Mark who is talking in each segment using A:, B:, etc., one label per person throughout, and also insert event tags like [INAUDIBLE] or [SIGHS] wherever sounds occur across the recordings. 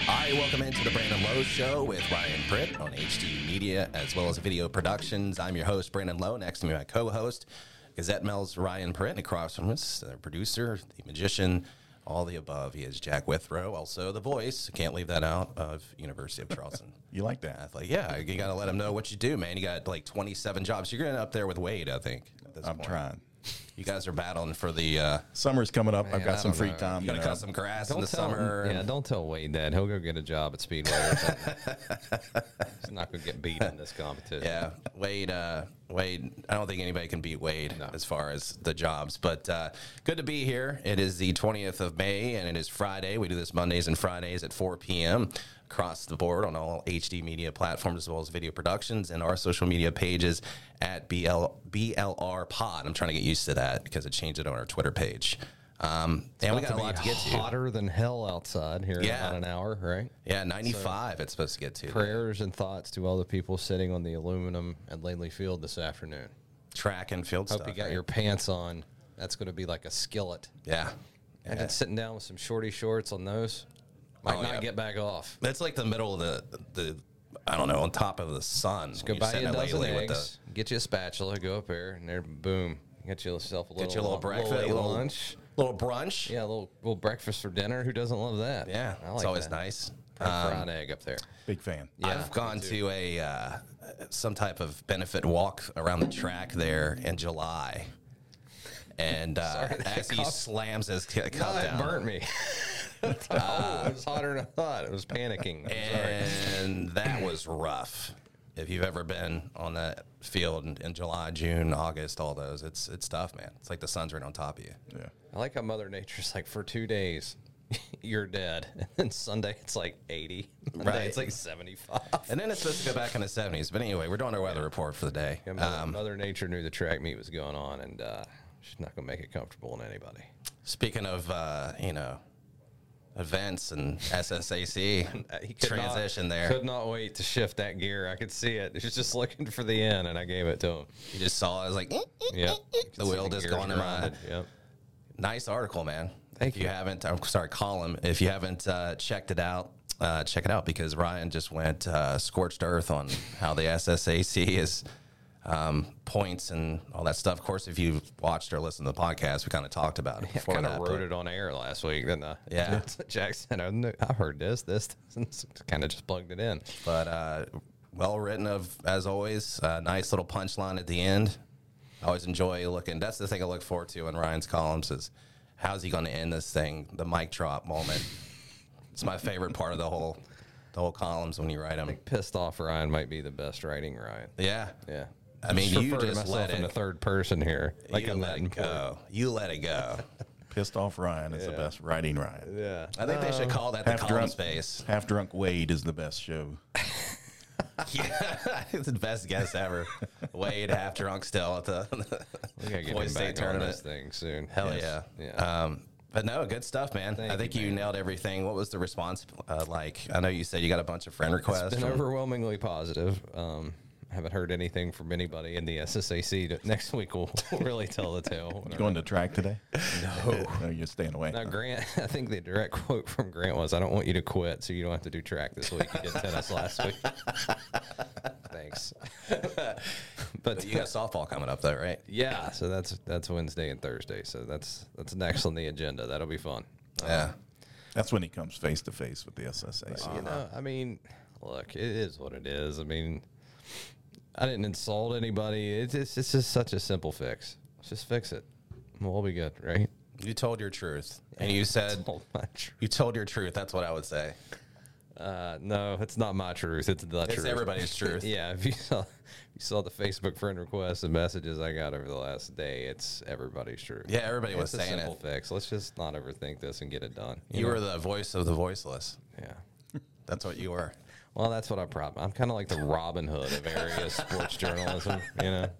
A: Hi, welcome into the Brandon Lowe Show with Ryan Pritt on HD Media as well as Video Productions. I'm your host, Brandon Lowe. Next to me, my co host, Gazette Mel's Ryan Pritt. And across from us, the producer, the magician, all the above. He is Jack Withrow, also the voice. Can't leave that out of University of
B: [LAUGHS]
A: Charleston.
C: You like that?
A: Athlete. Yeah, you got to let him know what you do, man. You got like 27 jobs. You're getting up there with Wade, I think. at this
C: I'm
A: point.
C: trying.
A: You guys are battling for the. Uh,
C: Summer's coming up.
B: Man,
C: I've got
B: I
C: some
B: don't
C: free
B: know.
C: time.
A: you
C: You
A: got to
C: know.
A: cut some grass in the
B: tell,
A: summer.
B: Yeah, don't tell Wade that. He'll go get a job at Speedway or something.
A: [LAUGHS]
B: He's not going to get beat in this competition.
A: Yeah, Wade. Uh, Wade. I don't think anybody can beat Wade as far as the jobs. But uh, good to be here. It is the 20th of May, and it is Friday. We do this Mondays and Fridays at 4 p.m. across the board on all HD media platforms as well as video productions and our social media pages at BL, BLR Pod. I'm trying to get used to that because it changed it on our Twitter page. Um, and we got
B: About
A: a
B: be
A: lot to get
B: [SIGHS]
A: to.
B: Hotter than hell outside here in
A: Yeah.
B: about an hour, right?
A: Yeah, 95. it's supposed to get to
B: Prayers and thoughts to all the people sitting on the aluminum at Langley Field this afternoon.
A: track and field
B: Hope
A: stuff.
B: you got
A: right?
B: your pants on. That's going to be like a skillet.
A: yeah.
B: Imagine sitting down with some shorty shorts on those. Might
A: Oh,
B: not
A: yeah.
B: get back off.
A: That's like the middle of the the I don't know on top of the sun.
B: Go
A: You're
B: buy
A: sitting
B: you a
A: there
B: dozen
A: lately with
B: eggs. Get you a spatula. Go up there and there, boom. Get yourself a
A: the-
B: little,
A: Get you a little breakfast,
B: little
A: little
B: lunch.
A: little brunch.
B: Yeah, a little little breakfast for dinner. Who doesn't love that?
A: Yeah,
B: I like
A: it's always
B: that.
A: nice.
B: Fried,
A: Um,
B: fried egg up there.
C: Big fan.
A: I've gone to a uh, some type of benefit walk around the track there in July, and
B: [LAUGHS]
A: uh, as he slams his cu- cup
B: Oh, it
A: down,
B: burnt me. [LAUGHS] oh, it was hotter than I thought. It was panicking. I'm sorry.
A: and
B: [CLEARS THROAT]
A: that was rough. If you've ever been on that field in, in July, June, August, all those, it's it's tough, man. It's like the sun's right on top of you.
C: Yeah.
B: I like how Mother Nature's like for two days. [LAUGHS] You're dead. And then Sunday it's like 80. Monday
A: Right.
B: it's like 75.
A: And then it's supposed to go back in the 70s. But anyway, we're doing our weather report for the day. Uh,
B: Yeah, Mother, Mother Nature knew the track meet was going on and uh, she's not going to make it comfortable on anybody.
A: Speaking of, uh, you know, events and
B: Uh, [LAUGHS] He
A: SSAC,
B: could not-
A: transition there.
B: Could not wait to shift that gear. I could see it. He was just looking for the end and I gave it to him.
A: You just saw, it, I was like, "Eh,
B: Yeah.
A: the wheel just going around.
B: Yep.
A: Nice article, man.
B: Thank
A: if you.
B: you.
A: haven't, I'm sorry, column. If you haven't uh, checked it out, uh, check it out because Ryan just went uh, scorched earth on how the SSAC is um, points and all that stuff. Of course, if you've watched or listened to the podcast, we kind of talked about it before
B: kind
A: that,
B: of
A: but-
B: wrote it on air last week, didn't I?
A: Yeah.
B: [LAUGHS] Jackson, I, knew, I heard this, this, this, [LAUGHS] and kind of just plugged it in.
A: but uh, well written of as always. Uh, nice little punchline at the end. I always enjoy looking. That's the thing I look forward to in Ryan's columns is how's he going to end this thing? The mic drop moment. it's my favorite part of the whole the whole columns when you write them.
B: Pissed off Ryan might be the best writing Ryan.
A: Yeah,
B: Yeah.
A: I mean,
B: Just
A: you
B: refer to
A: just
B: myself
A: let
B: in the
A: it.
B: third person here. Like
A: you
B: I'm
A: let
B: letting
A: it go. You let it go.
C: Pissed off Ryan is the best. Writing Ryan.
B: Yeah.
A: I think they
B: Uh,
A: should call that the
C: half
A: column
C: drunk.
A: space. [LAUGHS]
C: Half drunk Wade is the best show.
A: Yeah, [LAUGHS] it's the best guess ever. Wade half drunk still at the [LAUGHS]
B: We gotta get
A: Boys
B: him
A: State
B: back on
A: tournament.
B: this thing soon.
A: Hell
B: Yes.
A: yeah.
B: Yeah.
A: Um, but no, good stuff, man. I think you, nailed everything. What was the response uh, like? I know you said you got a bunch of friend requests.
B: Been
A: from-
B: overwhelmingly positive. Um, haven't heard anything from anybody in the SSAC. Next week we'll [LAUGHS] really tell the [LAUGHS] tale.
C: You going to track
B: [LAUGHS]
C: today? No. no, you're staying away.
B: Now, Grant, [LAUGHS] I think the direct quote from Grant was, "I don't want you to quit, so you don't have to do track this week. You did tennis last
A: [LAUGHS]
B: week." Thanks, but
A: you got softball coming up though,
B: [LAUGHS]
A: right?
B: yeah, so that's that's Wednesday and Thursday. So that's that's next on the agenda. That'll be fun.
A: Yeah.
C: That's when he comes face to face with the SSAC.
A: Uh-huh.
B: You know, I mean, look, it is what it is. I mean, I didn't insult anybody. It's just, it's just such a simple fix. Let's just fix it. We'll all be good, right?
A: You told your truth, and you
B: [LAUGHS]
A: said
B: Oh, my tr-
A: you told your truth. That's what I would say.
B: Uh, no, it's not my truth. It's the
A: It's
B: truth.
A: everybody's truth.
B: [LAUGHS] Yeah, if you saw if you saw the Facebook friend requests and messages I got over the last day, it's everybody's true.
A: Yeah, everybody was
B: it's a
A: saying
B: simple
A: it.
B: fix. Let's just not overthink this and get it done.
A: You were the voice of the voiceless.
B: yeah.
A: That's what you were.
B: Well, that's what I prop. I'm kind of like the Robin Hood
A: [LAUGHS]
B: of area sports journalism. You know,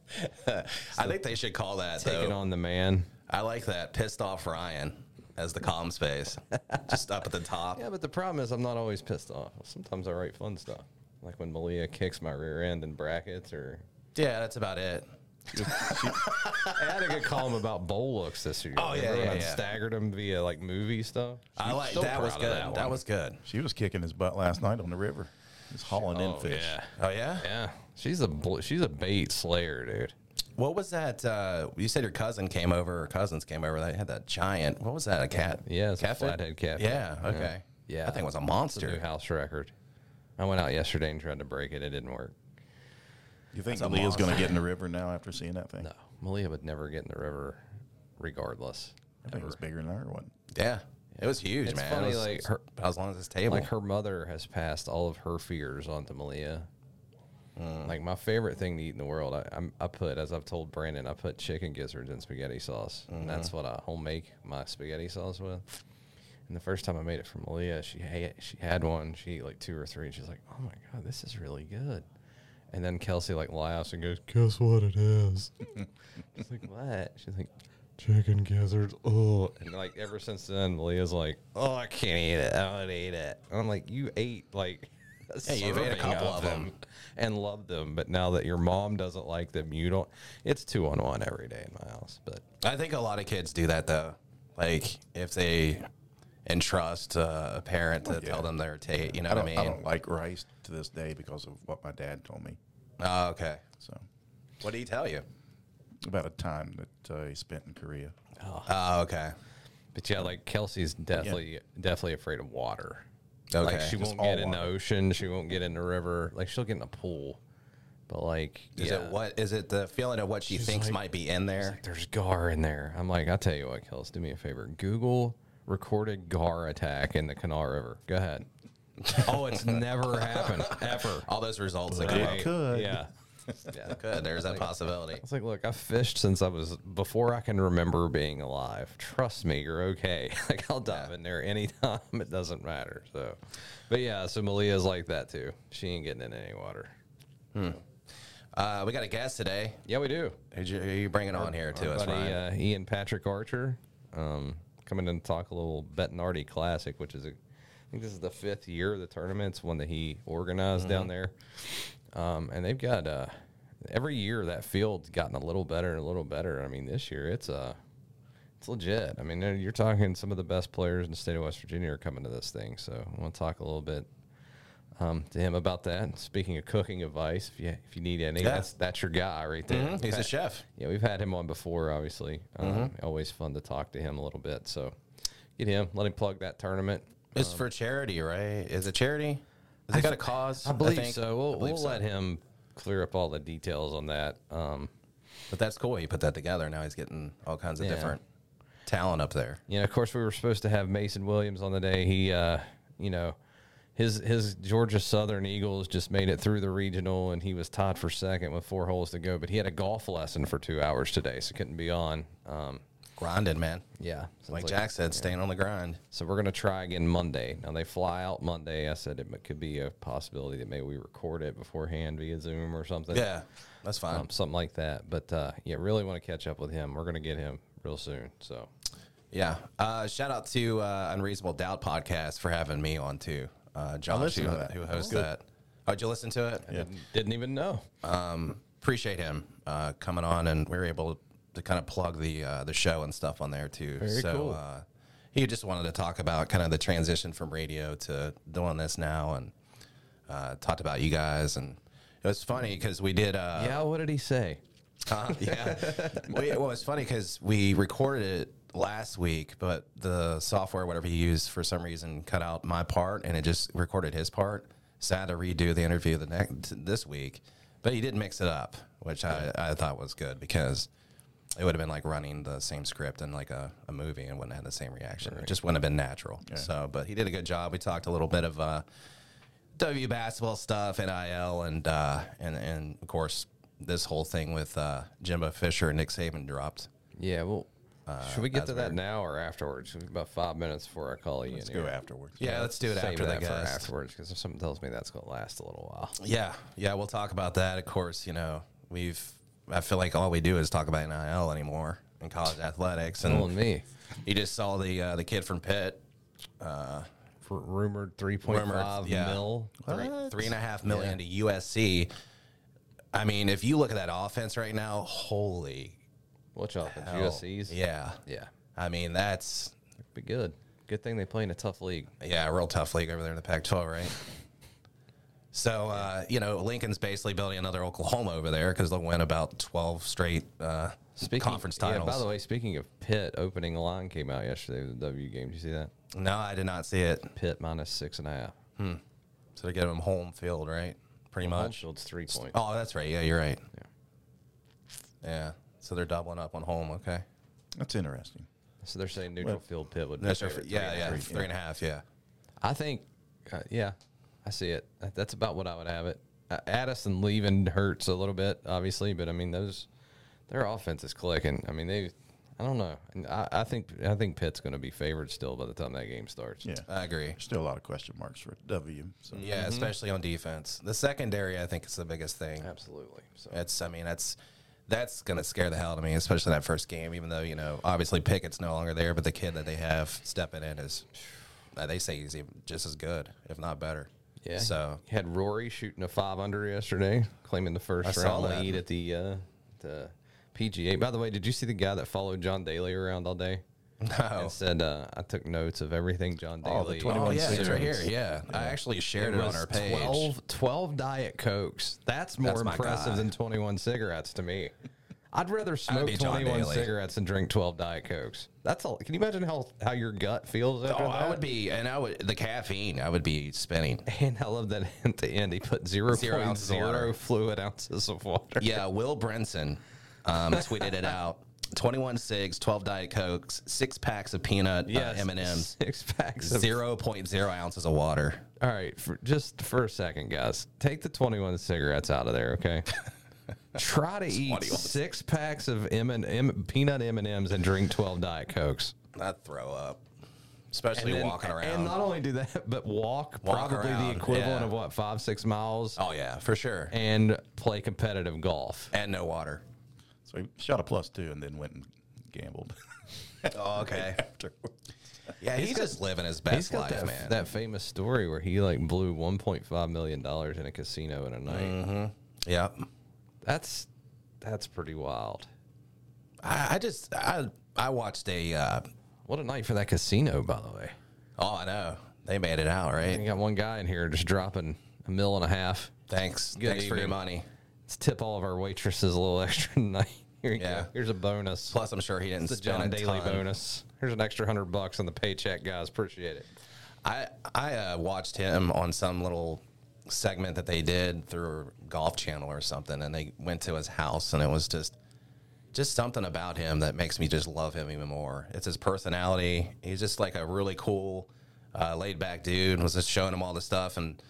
A: I think they should call that
B: taking
A: though.
B: on the man.
A: I like that. Pissed off Ryan as the column space, just up at the
B: [LAUGHS]
A: top.
B: Yeah, but the problem is I'm not always pissed off. Sometimes I write fun stuff, like when Malia kicks my rear end in brackets, or
A: Yeah, that's about it.
B: I had a good column about bowl looks this year.
A: Oh, yeah,
B: Remember
A: yeah,
B: I
A: yeah.
B: staggered them via like movie stuff.
A: I like
B: So
A: that was
B: proud
A: good.
B: of
A: That,
B: one.
A: was good.
C: She was kicking his butt last night on the river. He's hauling in
B: Oh,
C: fish.
B: Yeah,
A: Oh yeah.
B: yeah. She's a bl- she's a bait slayer, dude.
A: What was that? Uh, you said your cousin came over, or cousins came over. They had that giant. What was that? A cat?
B: Yeah, it's a
A: Catfish?
B: flathead catfish.
A: Yeah. Okay.
B: Yeah.
A: That thing was a
B: It's a new
A: monster.
B: house record. I went out yesterday and tried to break it. It didn't work.
C: You think Leah's going to get in the river now after seeing that thing?
B: No, Malia would never get in the river, regardless.
C: That thing was bigger than our one.
A: Yeah. It was huge,
B: It's
A: man.
B: funny,
A: it was,
B: like, her-
A: about as long as this table.
B: Like her mother has passed all of her fears onto Malia. Like my favorite thing to eat in the world, I, I'm, I put as I've told Brandon, I put chicken gizzards in spaghetti sauce, and that's what I home make my spaghetti sauce with. And the first time I made it for Malia, she had, she had one. She ate like two or three, and she's like, "Oh my god, this is really good." And then Kelsey like laughs and goes, [LAUGHS] "Guess what it is?" she's like, "What?" She's like, "Chicken gizzards." Oh, and like ever since then, Malia's like, "Oh, I can't eat it. I don't eat it." And I'm like, "You ate like." [LAUGHS] a
A: Yeah, you've ate a
B: serving
A: couple of them.
B: and love them. But now that your mom doesn't like them, you don't. It's two on one every day in my house. But
A: I think a lot of kids do that though. Like if they entrust uh, a parent
B: Oh,
A: to tell them their taste, you know
C: I
A: what I
C: don't,
A: mean?
C: I don't like rice to this day because of what my dad told me.
A: Oh, okay.
C: So,
A: What did he tell you?
C: about a time that uh, he spent in Korea.
A: Oh, okay.
B: but yeah, like Kelsey's definitely definitely afraid of water.
A: Okay.
B: Like she
C: Just
B: won't get
C: all
B: in the
C: water.
B: ocean. She won't get in the river. Like she'll get in the pool. But like,
A: is
B: yeah,
A: it what? Is it the feeling of what she thinks might be in there?
B: There's gar in there. I'm like, I'll tell you what, Kels, do me a favor. Google recorded gar attack in the Kanawha River. Go ahead. [LAUGHS] oh, it's never happened [LAUGHS] ever.
A: All those results that
C: It
A: come out.
C: could.
B: Yeah. Yeah.
A: Good. There's that possibility.
B: It's like, look, I fished since I was before I can remember being alive. Trust me, you're okay. [LAUGHS] Like I'll dive in there anytime. [LAUGHS] It doesn't matter. So, but yeah, so Malia's like that too. She ain't getting in any water.
A: Uh, we got a guest today.
B: Yeah, we do.
A: Who'd you, who you bringing on here to us,
B: Buddy,
A: Ryan?
B: uh, Ian Patrick Archer, um, coming in to talk a little Bettinardi Classic, which is a, I think this is the fifth year of the tournament. It's one that he organized
A: Mm-hmm.
B: down there, um, and they've got uh, every year that field's gotten a little better and a little better. I mean, this year it's uh, it's legit. I mean, you're talking some of the best players in the state of West Virginia are coming to this thing. So I want to talk a little bit. Um, to him about that. Speaking of cooking advice, if you if you need any, that's that's your guy right there.
A: Mhm, He's a chef.
B: Yeah, we've had him on before, obviously. Um,
A: Mm-hmm.
B: always fun to talk to him a little bit. So get him, let him plug that tournament.
A: It's for charity, right? Is it charity? Has it got a cause? think?
B: so. We'll,
A: believe
B: we'll let him clear up all the details on that. Um,
A: But that's cool. He put that together. Now he's getting all kinds of
B: Yeah.
A: different talent up there.
B: you know, of course, we were supposed to have Mason Williams on the day. He, uh, you know, his his Georgia Southern Eagles just made it through the regional, and he was tied for second with four holes to go. But he had a golf lesson for two hours today, so couldn't be on. Um,
A: Grinding, man.
B: yeah, sounds
A: Like Jack said, staying on the grind.
B: So we're gonna try again Monday. Now they fly out Monday. I said it could be a possibility that maybe we record it beforehand via Zoom or something.
A: Yeah, that's fine.
B: um, something like that. But uh, yeah, really want to catch up with him. We're gonna get him real soon. So
A: yeah. Uh, shout out to uh, Unreasonable Doubt podcast for having me on too. Uh, Josh, who,
C: listened to that.
A: who hosts that. Oh, did you listen to it?
C: Yeah.
B: didn't even know.
A: Appreciate him uh, coming on, and we were able to kind of plug the uh, the show and stuff on there too.
B: Very
A: so
B: cool.
A: uh, he just wanted to talk about kind of the transition from radio to doing this now, and uh, talked about you guys, and it was funny because we did. Uh,
B: yeah, what did he say?
A: Huh? [LAUGHS] Yeah. well, yeah, well, it's funny because we recorded it last week, but the software, whatever you used, for some reason cut out my part and it just recorded his part. So I had to redo the interview the next this week, but he did mix it up, which I, I thought was good because it would have been like running the same script in like a, a movie and wouldn't have had the same reaction. It just wouldn't have been natural. So, but he did a good job. We talked a little bit of uh, W basketball stuff, NIL, and uh, and and of course this whole thing with uh, Jimbo Fisher and Nick Saban dropped.
B: Yeah, well, should we get to that now or afterwards? We've about five minutes before I call you.
C: Let's
B: in here.
C: go afterwards.
A: Yeah, let's do it
B: Save
A: after
B: that
A: that.
B: for afterwards because something tells me that's gonna last a little while.
A: Yeah, yeah, we'll talk about that. Of course, you know we've. I feel like all we do is talk about NIL anymore in college athletics,
B: Telling
A: and
B: me.
A: you just saw the uh, the kid from Pitt,
B: For rumored 3.5
A: yeah.
B: mil.
A: three, three and a half million to USC. I mean, if you look at that offense right now, holy
B: Watch out, the
A: hell.
B: USC's.
A: Yeah.
B: yeah,
A: I mean, that's
B: be good. Good thing they play in a tough league.
A: yeah, a real tough league over there in the Pac-12, right? So uh, you know, Lincoln's basically building another Oklahoma over there because they'll win about twelve straight uh, conference titles.
B: Yeah, by the way, speaking of Pitt, opening line came out yesterday with the W game. Did you see that?
A: no, I did not see it.
B: Pitt minus six and a half.
A: So to get them home field, right? Pretty
B: Home
A: much.
B: field's three point.
A: Oh, that's right. Yeah, you're right. Yeah. So they're doubling up on home. Okay.
C: That's interesting.
B: So they're saying neutral
C: Well,
B: field Pitt would. be
A: That's
B: favored,
A: yeah,
B: three
A: yeah,
B: and a half.
A: three and a half. Yeah.
B: I think, uh, yeah, I see it. That- That's about what I would have it. Uh, Addison leaving hurts a little bit, obviously, but I mean those, their offense is clicking. I mean they, I don't know. And I, I think I think Pitt's going to be favored still by the time that game starts.
C: Yeah.
A: I agree.
C: There's still a lot of question marks for W. So
A: Uh, Yeah,
B: Mm-hmm.
A: especially on defense. The secondary, I think, is the biggest thing.
B: absolutely. So
A: That's, I mean, that's that's gonna scare the hell out of me, especially that first game. Even though you know, obviously Pickett's no longer there, but the kid that they have stepping in is, uh, they say he's even just as good, if not better.
B: yeah. [LAUGHS]
A: So
B: You had Rory shooting a five under yesterday, claiming the first
A: I
B: round
A: saw that.
B: lead at the uh, the PGA. By the way, did you see the guy that followed John Daly around all day?
A: no.
B: And said uh, I took notes of everything John Daly.
C: Oh, the 21
A: Oh yeah,
C: Everyone's
A: it's right here.
C: serious.
A: Yeah, I actually shared it,
B: It
A: on
B: was
A: our page.
B: 12, 12 Diet Cokes. That's more
A: That's my
B: impressive
A: guy.
B: than 21 cigarettes to me. I'd rather smoke
A: be John
B: 21
A: Daly.
B: cigarettes and drink 12 Diet Cokes. That's all. Can you imagine how, how your gut feels after
A: Oh,
B: that?
A: I would be, and I would the caffeine. I would be spinning.
B: [LAUGHS] And I love that [LAUGHS] at the end he put
A: Zero
B: 0.0,
A: ounces of water.
B: fluid ounces of water.
A: Yeah, Will Brinson um, tweeted it out. [LAUGHS] 21 cigs, 12 Diet Cokes, six packs of peanut uh, M&Ms,
B: Six packs of
A: 0.0 ounces of water.
B: All right, for just for a second, guys, take the twenty-one cigarettes out of there,
A: [LAUGHS]
B: okay? Try to eat
A: 21.
B: six packs of M and M peanut M and M's and drink twelve diet cokes.
A: I'd throw up, especially
B: Then-
A: walking around.
B: and not only do that, [LAUGHS] but walk,
A: Walk
B: probably
A: around,
B: the equivalent
A: yeah.
B: of what five six miles,
A: oh yeah, for sure. And,
B: and play competitive golf.
A: no water.
C: so he shot a plus two and then went and gambled. [LAUGHS]
A: Oh, [LAUGHS] okay.
C: After
A: Yeah, he's, just living his best life,
B: that,
A: man.
B: that famous story where he like blew one point five million dollars in a casino in a night.
A: Mm-hmm. yeah.
B: That's that's pretty wild.
A: I, I just I I watched a uh,
B: What a night for that casino, by the way.
A: oh I know. They made it out,
B: You
A: right?
B: got one guy in here just dropping a mil and a half.
A: Thanks.
B: Mm-hmm. Good
A: Thanks for your
B: evening.
A: money.
B: Let's tip all of our waitresses a little extra [LAUGHS] tonight. Here you
A: Yeah.
B: go. Here's a bonus.
A: Plus I'm sure he didn't
B: the
A: spend
B: John
A: a
B: Daly
A: ton.
B: bonus. Here's an extra hundred bucks on the paycheck, guys. Appreciate it.
A: I I uh, watched him on some little segment that they did through Golf Channel or something, and they went to his house, and it was just just something about him that makes me just love him even more. It's his personality. He's just like a really cool, uh, laid back dude. Was just showing him all the stuff, and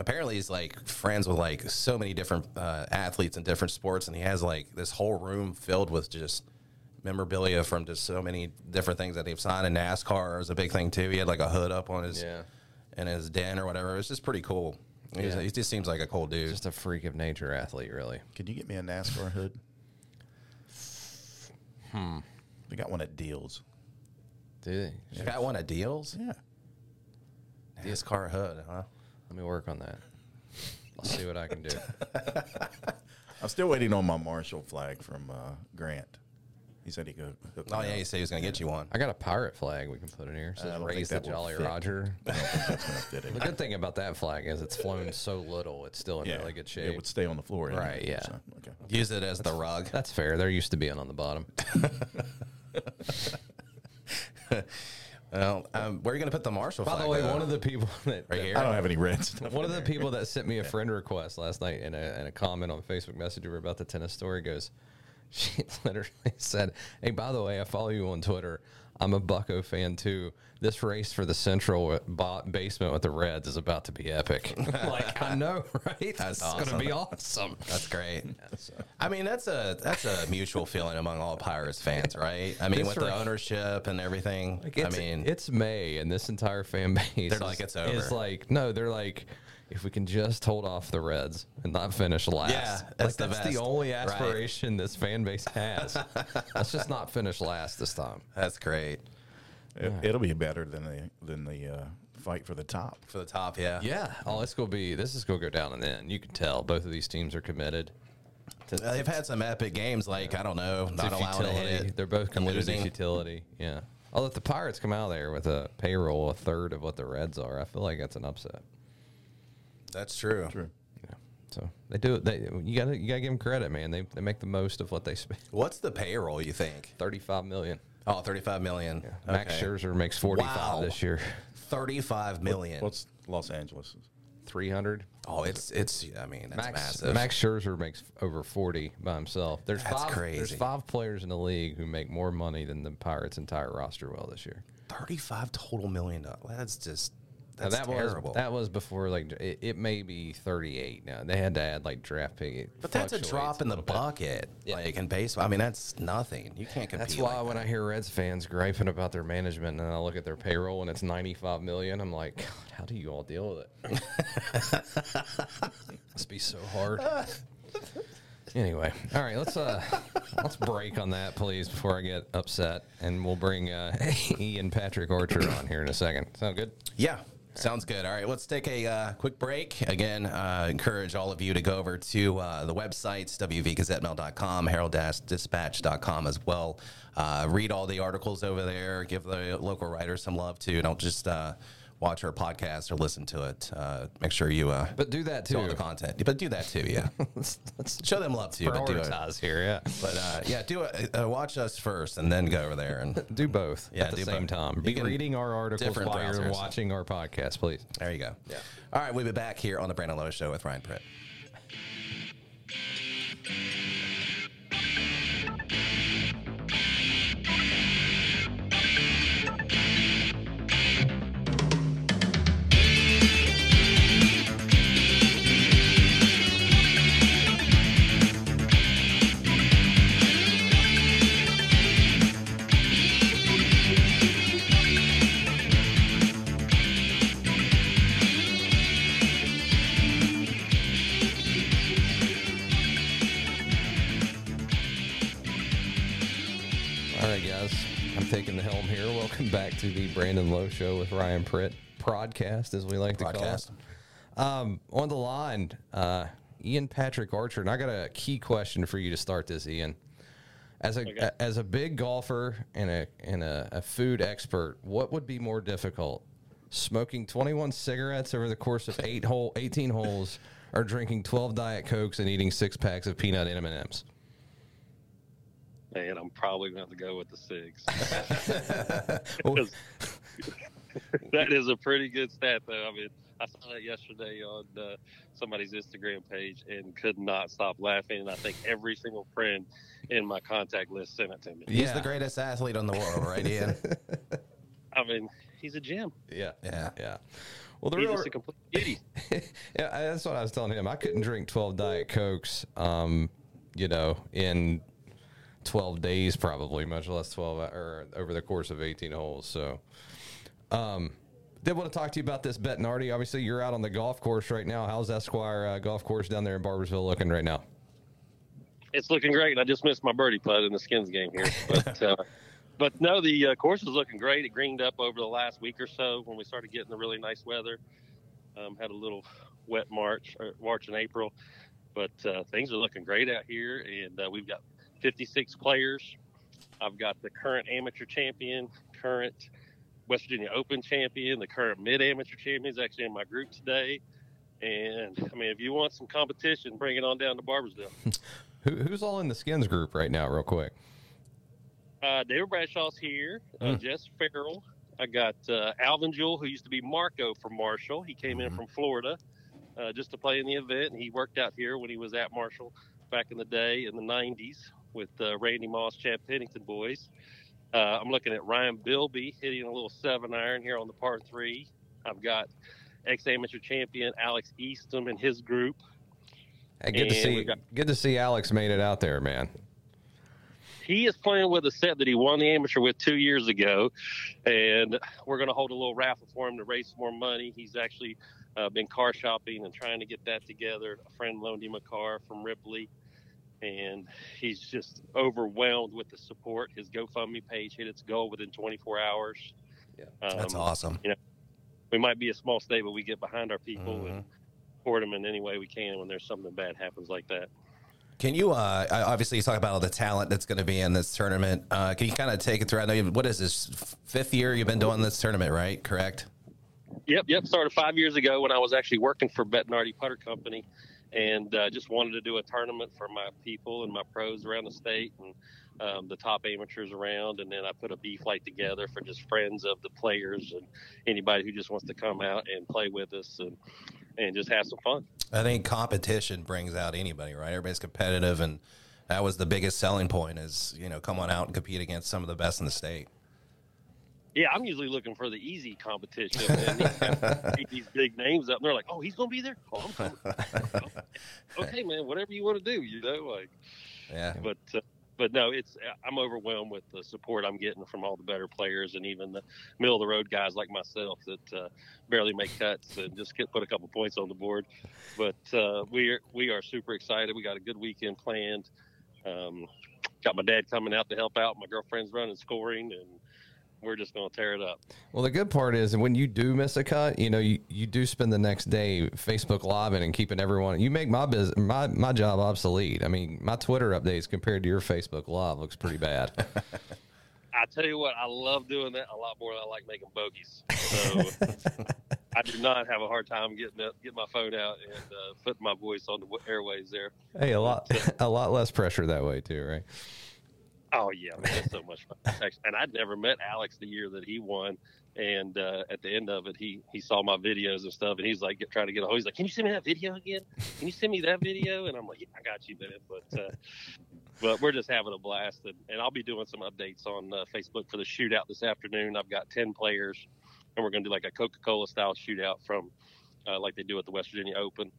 A: apparently he's like friends with like so many different uh, athletes in different sports, and he has like this whole room filled with just memorabilia from just so many different things that they've signed. And NASCAR is a big thing too. He had like a hood up on his
B: Yeah.
A: in his den or whatever. It's just pretty cool. He's,
B: Yeah.
A: He just seems like a cool dude.
B: Just a freak of nature athlete, really.
C: Can you get me a NASCAR hood? Hmm. They got one at Deals.
B: Dude,
A: You got one at deals.
C: Yeah.
A: NASCAR hood, huh?
B: let me work on that. I'll see what I can do.
C: I'm still waiting on my Marshall flag from uh, Grant. He said he could. hook me
A: Oh
C: up.
A: yeah, you said he was gonna get you one.
B: [LAUGHS] I got a pirate flag we can put in here. It
C: I
B: says
C: don't
B: raise the
C: think that will
B: Jolly
C: fit.
B: Roger.
C: I don't think that's gonna fit it.
B: the good thing about that flag is it's flown so little, it's still in
C: Yeah,
B: really good
C: It
B: shape.
C: would stay on the floor. anyway,
B: Right, yeah.
C: so, okay.
A: Use it as the rug.
B: That's fair. They're used to being on the bottom.
A: [LAUGHS] Well, um, where are you gonna put the Marshall?
B: By the
A: flag,
B: way,
A: though?
B: one of the people [LAUGHS]
A: uh,
B: that
A: right
C: I
A: here.
C: don't have any red stuff.
B: One of the people that sent [LAUGHS] me a friend request last night and a, and a comment on Facebook Messenger about the tennis story goes, [LAUGHS] she literally said, Hey, by the way, I follow you on Twitter. I'm a Bucko fan too. This race for the central bo- basement with the Reds is about to be [LAUGHS] epic. like, I know, [LAUGHS] right? That's going
A: awesome.
B: to be awesome.
A: That's
B: [LAUGHS]
A: great. I mean, that's a that's a mutual feeling among all Pirates fans, right? I mean,
B: This
A: with
B: right-
A: the ownership and everything.
B: Like,
A: I
B: it's,
A: mean,
B: it's May, and this entire fan [LAUGHS] base
A: They're like, "It's over."
B: It's like, no, they're like, if we can just hold off the Reds and not finish last.
A: Yeah,
B: like,
A: that's the
B: that's
A: best.
B: the only
A: Right.
B: aspiration this fan base
A: [LAUGHS]
B: has. Let's just not finish last this time.
A: that's great
C: It, it'll be better than the than the uh, fight for the top.
A: for the top. Yeah.
B: Yeah. Oh, it's gonna be. This is gonna go down and then you can tell both of these teams are committed. To,
A: They've had some epic games, like I don't know, not
B: to
A: allowing a
B: futility.
A: hit.
B: They're both
A: and
B: committed to
A: losing.
B: futility. Yeah. Although if the Pirates come out of there with a payroll a third of what the Reds are, I feel like that's an upset.
A: That's true.
C: True.
B: Yeah. So they do it. They, you gotta you gotta give them credit, man. They, they make the most of what they [LAUGHS] spend.
A: What's the payroll? You think?
B: Thirty five million.
A: Oh, 35 million.
B: Max
A: Okay.
B: Scherzer makes forty five
A: Wow.
B: this year.
A: 35 million.
C: What's Los Angeles?
B: Three hundred.
A: oh, it's it's. I mean, that's
B: Max
A: massive.
B: Max Scherzer makes over forty by himself. There's
A: That's
B: five. There's
A: crazy.
B: five players in the league who make more money than the Pirates' entire roster will this year.
A: 35 total million. dollars. That's just
B: Now,
A: that's
B: that
A: terrible.
B: was that was before like it, it may be thirty eight now. They had to add like draft pick. It
A: but that's a
B: fluctuates
A: drop in the
B: little bit.
A: bucket. Like in baseball, I mean, that's nothing. You can't compete.
B: That's why
A: like
B: when I hear Reds fans griping about their management and I look at their payroll and it's 95 million, I'm like, God, how do you all deal with it?
A: [LAUGHS]
B: Must be so hard. Anyway, all right, let's uh let's break on that, please, before I get upset, and we'll bring uh, [LAUGHS] Ian Patrick Archer on here in a second. Sound good?
A: Yeah. Sounds good. All right, let's take a uh, quick break. Again, uh, encourage all of you to go over to uh, the websites, wvgazetemail.com, herald-dispatch.com as well. Uh, read all the articles over there. Give the local writers some love, too. Don't just uh, watch our podcast or listen to it. Uh, make sure you uh,
B: But do that
A: do all
B: too.
A: the content. But do that, too,
B: [LAUGHS]
A: yeah.
B: Let's, let's
A: Show them love, too, but do it.
B: prioritize here. Yeah,
A: But uh, yeah, do it. Uh, watch us first and then go over there and
B: do both
A: Yeah,
B: at the
A: do
B: same
A: both.
B: time.
A: You
B: Be
A: can-
B: reading our articles
A: different
B: while you're
A: browsers.
B: watching our podcast, please.
A: There you go. Yeah. All right, we'll be back here on the Brandon Lowe Show with Ryan Pritt.
B: All right, guys. I'm taking the helm here. Welcome back to the Brandon Lowe Show with Ryan Pritt. Podcast, as we like to
A: Podcast.
B: call it. Um, on the line, uh, Ian Patrick Archer. And I got a key question for you to start this, Ian. As a as a big golfer and a and a, a food expert, what would be more difficult? Smoking 21 cigarettes over the course of eight hole 18 holes or drinking 12 diet cokes and eating six packs of peanut M&Ms?
D: and I'm probably going to have to go with the six.
B: Oh.
D: 'Cause [LAUGHS] that is a pretty good stat, though. I mean, I saw that yesterday on uh, somebody's Instagram page and could not stop laughing. And I think every single friend in my contact list sent it to me.
A: He's
B: Yeah.
A: the greatest athlete in the world, right, Ian?
D: I mean, he's a gem.
B: Yeah.
A: [LAUGHS] yeah.
B: Yeah. Well, the
D: He's
B: real,
D: just a complete idiot.
B: yeah, that's what I was telling him. I couldn't drink 12 Diet Cokes, um, you know, in 12 days, probably, much less 12 hou- or over the course of 18 holes. So, um, did want to talk to you about this Bettinardi. Obviously, you're out on the golf course right now. How's Esquire uh, golf course down there in Barbersville looking right now?
D: It's looking great. I just missed my birdie putt in the skins game here, but uh, but no, the uh, course is looking great. It greened up over the last week or so when we started getting the really nice weather. Um, had a little wet March, or March and April, but uh, things are looking great out here, and uh, we've got 56 players. I've got the current amateur champion, current West Virginia Open champion, the current mid amateur champion is actually in my group today. And I mean, if you want some competition, bring it on down to Barbersville.
B: Who, who's all in the skins group right now, real quick?
D: Uh, David Bradshaw's here. Uh, Jess Farrell. I got uh, Alvin Jewell, who used to be Marco from Marshall. He came in from Florida uh, just to play in the event, and he worked out here when he was at Marshall back in the day in the '90s with uh, Randy Moss, Chad Pennington boys. Uh, I'm looking at Ryan Bilby hitting a little seven iron here on the par three. I've got ex-amateur champion Alex Eastham and his group.
B: Hey, good to
D: And
B: see.
D: we've got-
B: good to see Alex made it out there, man.
D: he is playing with a set that he won the amateur with two years ago, and we're going to hold a little raffle for him to raise some more money. He's actually uh, been car shopping and trying to get that together. A friend loaned him a car from Ripley, and he's just overwhelmed with the support. His GoFundMe page hit its goal within 24 hours.
B: Yeah.
D: Um,
A: That's awesome.
D: We might be a small state, but we get behind our people and support them in any way we can when there's something bad happens like that.
A: Can you uh, I- obviously you talk about all the talent that's going to be in this tournament? Uh, can you kind of take it through? I know you, what is this f- fifth year you've been doing this tournament, right? Correct.
D: Yep, yep. Started five years ago when I was actually working for Bettinardi Putter Company, and uh, just wanted to do a tournament for my people and my pros around the state and um, the top amateurs around. And then I put a B flight together for just friends of the players and anybody who just wants to come out and play with us and and just have some fun.
A: I think competition brings out anybody, right? Everybody's competitive, and that was the biggest selling point. Is you know, come on out and compete against some of the best in the state.
D: Yeah, I'm usually looking for the easy competition. And these, guys beat these big names up, and they're like, "Oh, he's going to be there. Oh, I'm coming. okay, man, whatever you want to do, you know, like."
A: Yeah,
D: but uh, but no, it's I'm overwhelmed with the support I'm getting from all the better players and even the middle of the road guys like myself that uh, barely make cuts and just get, put a couple points on the board. But uh, we are we are super excited. We got a good weekend planned. Um, got my dad coming out to help out. My girlfriend's running scoring, and we're just going to tear it up.
B: Well, the good part is when you do miss a cut, you know you, you do spend the next day Facebook living and keeping everyone. You make my biz, my my job obsolete. I mean, my Twitter updates compared to your Facebook live looks pretty bad.
D: I tell you what, I love doing that a lot more than I like making bogeys. So I do not have a hard time getting up, getting my phone out and uh, putting my voice on the w- airways there.
B: hey, a lot [LAUGHS] a lot less pressure that way too, right?
D: Oh yeah, man, that's so much fun. Actually, And I'd never met Alex the year that he won. And uh, at the end of it, he he saw my videos and stuff, and he's like get, trying to get a hold. He's like, "Can you send me that video again? Can you send me that video?" And I'm like, "Yeah, I got you, man." But uh, but we're just having a blast, and, and I'll be doing some updates on uh, Facebook for the shootout this afternoon. I've got ten players, and we're going to do like a Coca-Cola style shootout from uh, like they do at the West Virginia Open.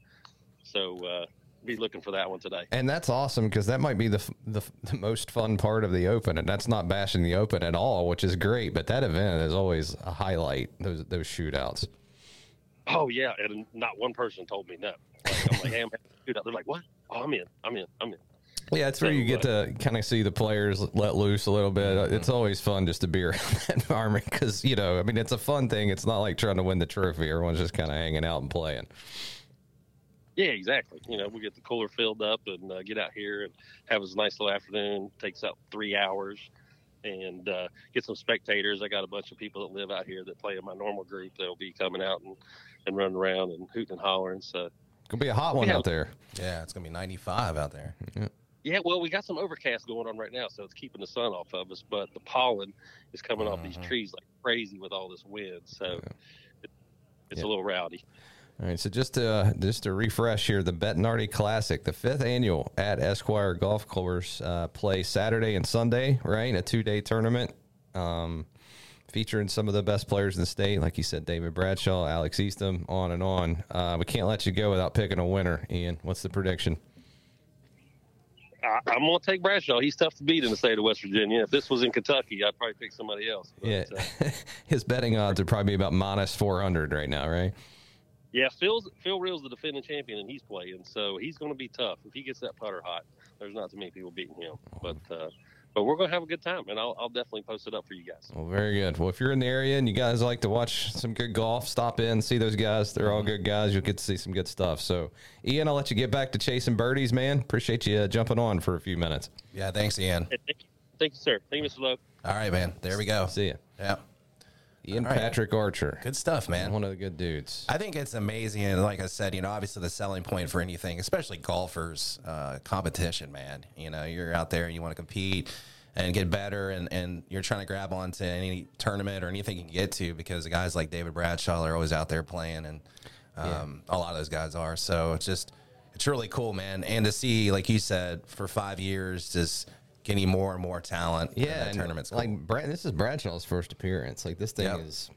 D: So uh, be looking for that one today.
B: And that's awesome because that might be the, f- the f- the most fun part of the Open, and that's not bashing the Open at all, which is great. But that event is always a highlight. Those those shootouts.
D: oh yeah and not one person told me no like, i'm like [LAUGHS] hey i'm dude they're like what oh i'm in i'm in i'm in
B: Yeah, it's where you get to kind of see the players let loose a little bit. It's always fun just to be [LAUGHS] around that environment because you know, I mean, it's a fun thing. It's not like trying to win the trophy. Everyone's just kind of hanging out and playing.
D: yeah exactly you know we get the cooler filled up and uh, get out here and have this nice little afternoon takes up three hours and uh, get some spectators i got a bunch of people that live out here that play in my normal group that'll be coming out and, and running around and hooting and hollering so
B: Could be a hot one
D: Yeah.
B: out there.
A: yeah, it's gonna be ninety five out there.
D: Yeah, well, we got some overcast going on right now, so it's keeping the sun off of us. But the pollen is coming off these trees like crazy with all this wind, so it, it's
B: Yeah.
D: a little rowdy.
B: All right, so just to just to refresh here, the Bettinardi Classic, the fifth annual at Esquire Golf Course, uh, play Saturday and Sunday, right? A two day tournament, um, featuring some of the best players in the state, like you said, David Bradshaw, Alex Eastham, on and on. Uh, we can't let you go without picking a winner, Ian. What's the prediction?
D: I, I'm gonna take Bradshaw. He's tough to beat in the state of West Virginia. If this was in Kentucky, I'd probably pick somebody else. But,
B: Yeah,
D: uh,
B: [LAUGHS] his betting odds are probably about minus four hundred right now, right?
D: yeah. Phil's Phil Real's the defending champion, and he's playing, so he's gonna be tough. If he gets that putter hot, there's not too many people beating him. But uh, but we're gonna have a good time, and I'll, I'll definitely post it up for you guys.
B: Well, very good. Well, if you're in the area and you guys like to watch some good golf, stop in, see those guys. They're all
A: Mm-hmm.
B: good guys. You'll get to see some good stuff. So, Ian, I'll let you get back to chasing birdies, man. Appreciate you uh, jumping on for a few minutes.
A: Yeah, thanks, Ian.
D: Hey, thank you, thank you, sir. Thank you, Mr. Lowe.
A: All right, man. There we go.
B: See ya.
A: Yeah,
B: Ian
A: All right.
B: Patrick Archer,
A: good stuff, man.
B: one of the good dudes.
A: I think it's amazing. And like I said, you know, obviously the selling point for anything, especially golfers, uh, competition, man. You know, you're out there and you want to compete and get better, and, and you're trying to grab onto any tournament or anything you can get to because the guys like David Bradshaw are always out there playing, and um, a lot of those guys are. So it's just, it's really cool, man. And to see, like you said, for five years, just getting more and more talent. in
B: yeah,
A: that
B: and
A: tournament's cool.
B: like Brad, this is Bradshaw's first appearance. Like this thing
A: Yeah.
B: is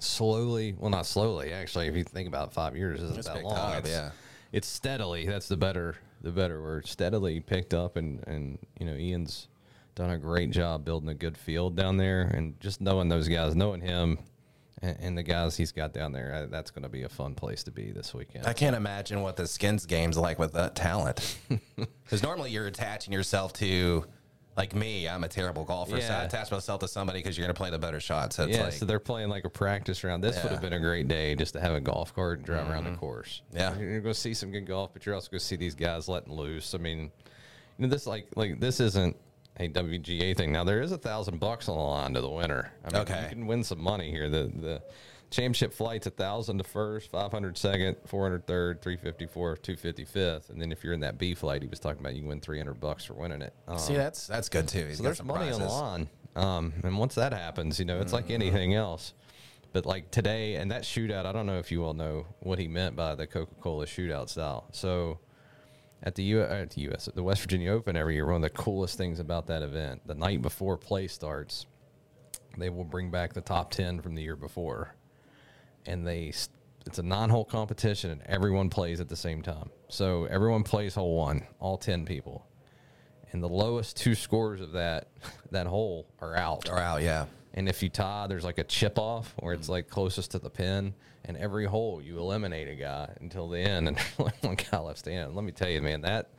B: slowly, well, not slowly actually. If you think about it, five years, isn't that
A: picked
B: long?
A: up,
B: It's-
A: yeah.
B: it's steadily. That's the better, the better word. Steadily picked up, and and you know, Ian's done a great job building a good field down there, and just knowing those guys, knowing him. And and the guys he's got down there, uh, that's going to be a fun place to be this weekend.
A: I can't imagine what the
B: [LAUGHS]
A: skins game's like with that talent. Because normally you're attaching yourself to like me, I'm a terrible golfer. So I
B: Yeah.
A: attach myself to somebody because you're going to play the better shot. So it's
B: yeah,
A: like,
B: so they're playing like a practice round. This
A: Yeah.
B: would
A: Mm-hmm.
B: have been a great day just to have a golf cart and drive around the course.
A: Yeah.
B: you're, going to see some good golf, but you're also going to see these guys letting loose. I mean, you know, this like like this isn't a WGA thing. Now there is a thousand bucks on the line to the winner. I mean,
A: Okay.
B: you can win some money here. The the championship flight's a thousand to first, five hundred second, four hundred third, three fifty fourth, two fifty fifth, and then if you're in that B flight, he was talking about you can win three hundred bucks for winning it. Um,
A: see, that's that's good too. He's
B: so
A: got
B: there's
A: some
B: money on the
A: prizes. Mm-hmm.
B: line. Um, and once that happens, you know, it's like anything else. But like today and that shootout, I don't know if you all know what he meant by the Coca Cola shootout style. So at the, U- uh, at the U.S., at the West Virginia Open every year, one of the coolest things about that event, the night before play starts, they will bring back the top 10 from the year before. And they, s- it's a nine hole competition and everyone plays at the same time. So everyone plays hole one, all 10 people and the lowest two scores of that [LAUGHS] that hole are out.
A: Or out, yeah.
B: And if you tie, there's like a chip off where it's like closest to the pin, and every hole you eliminate a guy until the end, and [LAUGHS] there's only one guy left standing. Let me tell you, man, that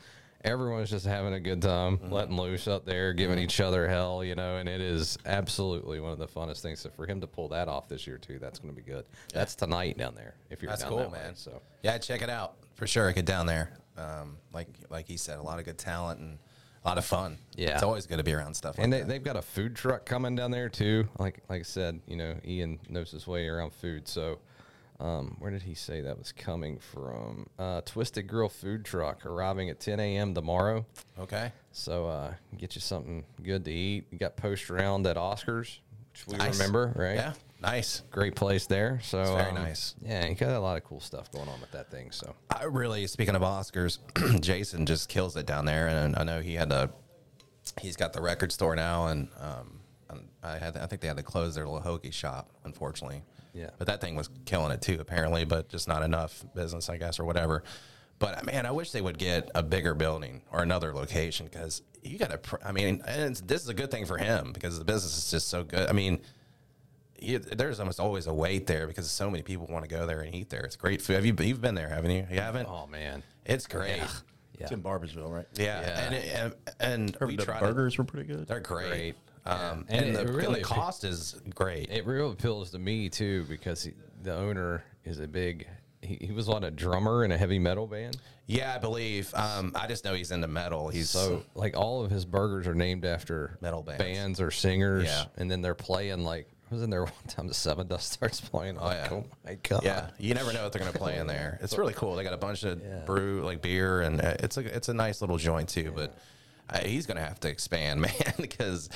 B: everyone's just having a good time,
A: Mm-hmm.
B: letting loose up there, giving each other hell, you know, and it is absolutely one of the funnest things. So for him to pull that off this year too, that's going to be good. That's tonight down there. If you're
A: That's
B: down
A: cool,
B: that way,
A: man.
B: so
A: Yeah, check it out for sure. Get down there. Um, like like he said, a lot of good talent and a lot of fun.
B: Yeah.
A: it's always good to be around stuff. Like
B: and they,
A: that.
B: they've got a food truck coming down there too. Like like I said, you know, Ian knows his way around food. So, um, where did he say that was coming from? Uh, Twisted Grill food truck arriving at 10 a.m. tomorrow.
A: okay,
B: So uh, get you something good to eat. You got post round at Oscars, which we
A: Nice.
B: remember, right?
A: yeah, nice.
B: Great place there. So um,
A: very nice.
B: Yeah, you got a lot of cool stuff going on with that thing. So
A: I really speaking of Oscars, [CLEARS THROAT] Jason just kills it down there, and I know he had a he's got the record store now, and um, and I had I think they had to close their little hoagie shop, unfortunately.
B: Yeah.
A: but that thing was killing it too, apparently, but just not enough business, I guess, or whatever. But uh, man, I wish they would get a bigger building or another location because you got to. Pr- I mean, and it's, this is a good thing for him because the business is just so good. I mean. You, there's almost always a wait there because so many people want to go there and eat there. It's great food. Have you you've been there, haven't you? You haven't?
B: oh man,
A: It's great. Yeah.
C: It's in Barbersville, right?
B: Yeah.
A: And, it- and, and we
C: the
A: tried it.
C: burgers were pretty good.
A: They're great.
B: Great.
A: Um,
B: Yeah. And
A: and,
B: it
A: the,
B: really
A: and the cost is great.
B: It real appeals to me too because he, the owner is a big. He, he was on a drummer in a heavy metal band.
A: yeah, I believe. Um, I just know he's into metal. He's
B: So like all of his burgers are named after
A: Metal bands.
B: or singers,
A: Yeah.
B: and then they're playing like I was in there [LAUGHS] one time. The Seven Dust starts playing. I'm like,
A: yeah.
B: oh my god!
A: yeah, you never know what they're gonna play in there.
B: [LAUGHS]
A: It's really cool. They got a bunch of brew like beer, and uh, it's a it's a nice little joint too. But uh, he's gonna have to expand, [LAUGHS] man, because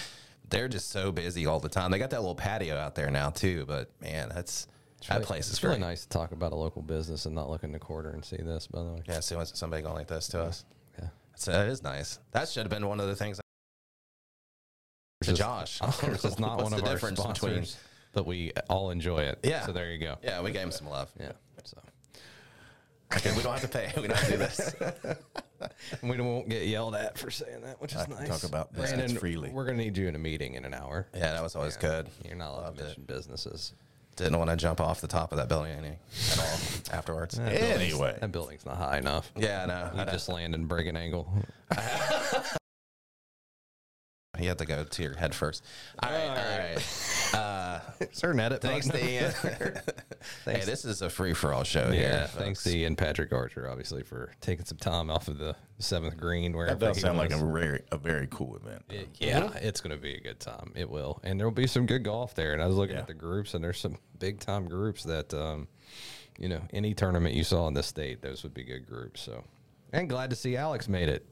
A: they're just so busy all the time. They got that little patio out there now too. But man, that's that
B: Really-
A: place
B: it's
A: is
B: really
A: great.
B: nice to talk about a local business and not look in the quarter and see this. By the way,
A: Yeah, see when somebody going like this to us.
B: Yeah.
A: So that is nice. That should have been one of the things. To
B: Just-
A: Josh,
B: [LAUGHS] Ours
A: [LAUGHS]
B: is not
A: What's
B: one of
A: the
B: our
A: difference
B: sponsors,
A: between-
B: but we all enjoy it.
A: Yeah.
B: So there you go.
A: Yeah, we gave him some love.
B: Yeah. So.
A: Okay, we don't have to pay. We don't have to do
B: [LAUGHS]
A: this.
B: And we won't get yelled at for saying that, which is
C: I can
B: nice.
C: talk about business freely.
B: We're gonna need you in a meeting in an hour.
A: Yeah, that was always good.
B: You're not allowed
A: Loved
B: to
A: it.
B: mention businesses.
A: Didn't want to jump off the top of that building any at all
B: [LAUGHS]
A: afterwards.
C: anyway,
B: That building's not high enough.
C: [LAUGHS]
A: Yeah, no,
B: You
A: I know. [LAUGHS]
B: just land and break an angle.
A: you have to go to your head first. All right, all right.
B: [LAUGHS]
A: Uh,
B: Is there an edit?
A: thanks to
B: button?
A: Ian.
C: [LAUGHS]
B: [LAUGHS]
A: [LAUGHS] hey, this is a free for all show here.
B: Yeah, thanks to Ian Patrick Archer, obviously, for taking some time off of the seventh green. Where
C: that does sound like a very a very cool event.
B: yeah, it's gonna be a good time. It will, and there will be some good golf there. And I was looking
C: Yeah.
B: at the groups, and there's some big time groups that, um, you know, any tournament you saw in this state, those would be good groups. So, and glad to see Alex made it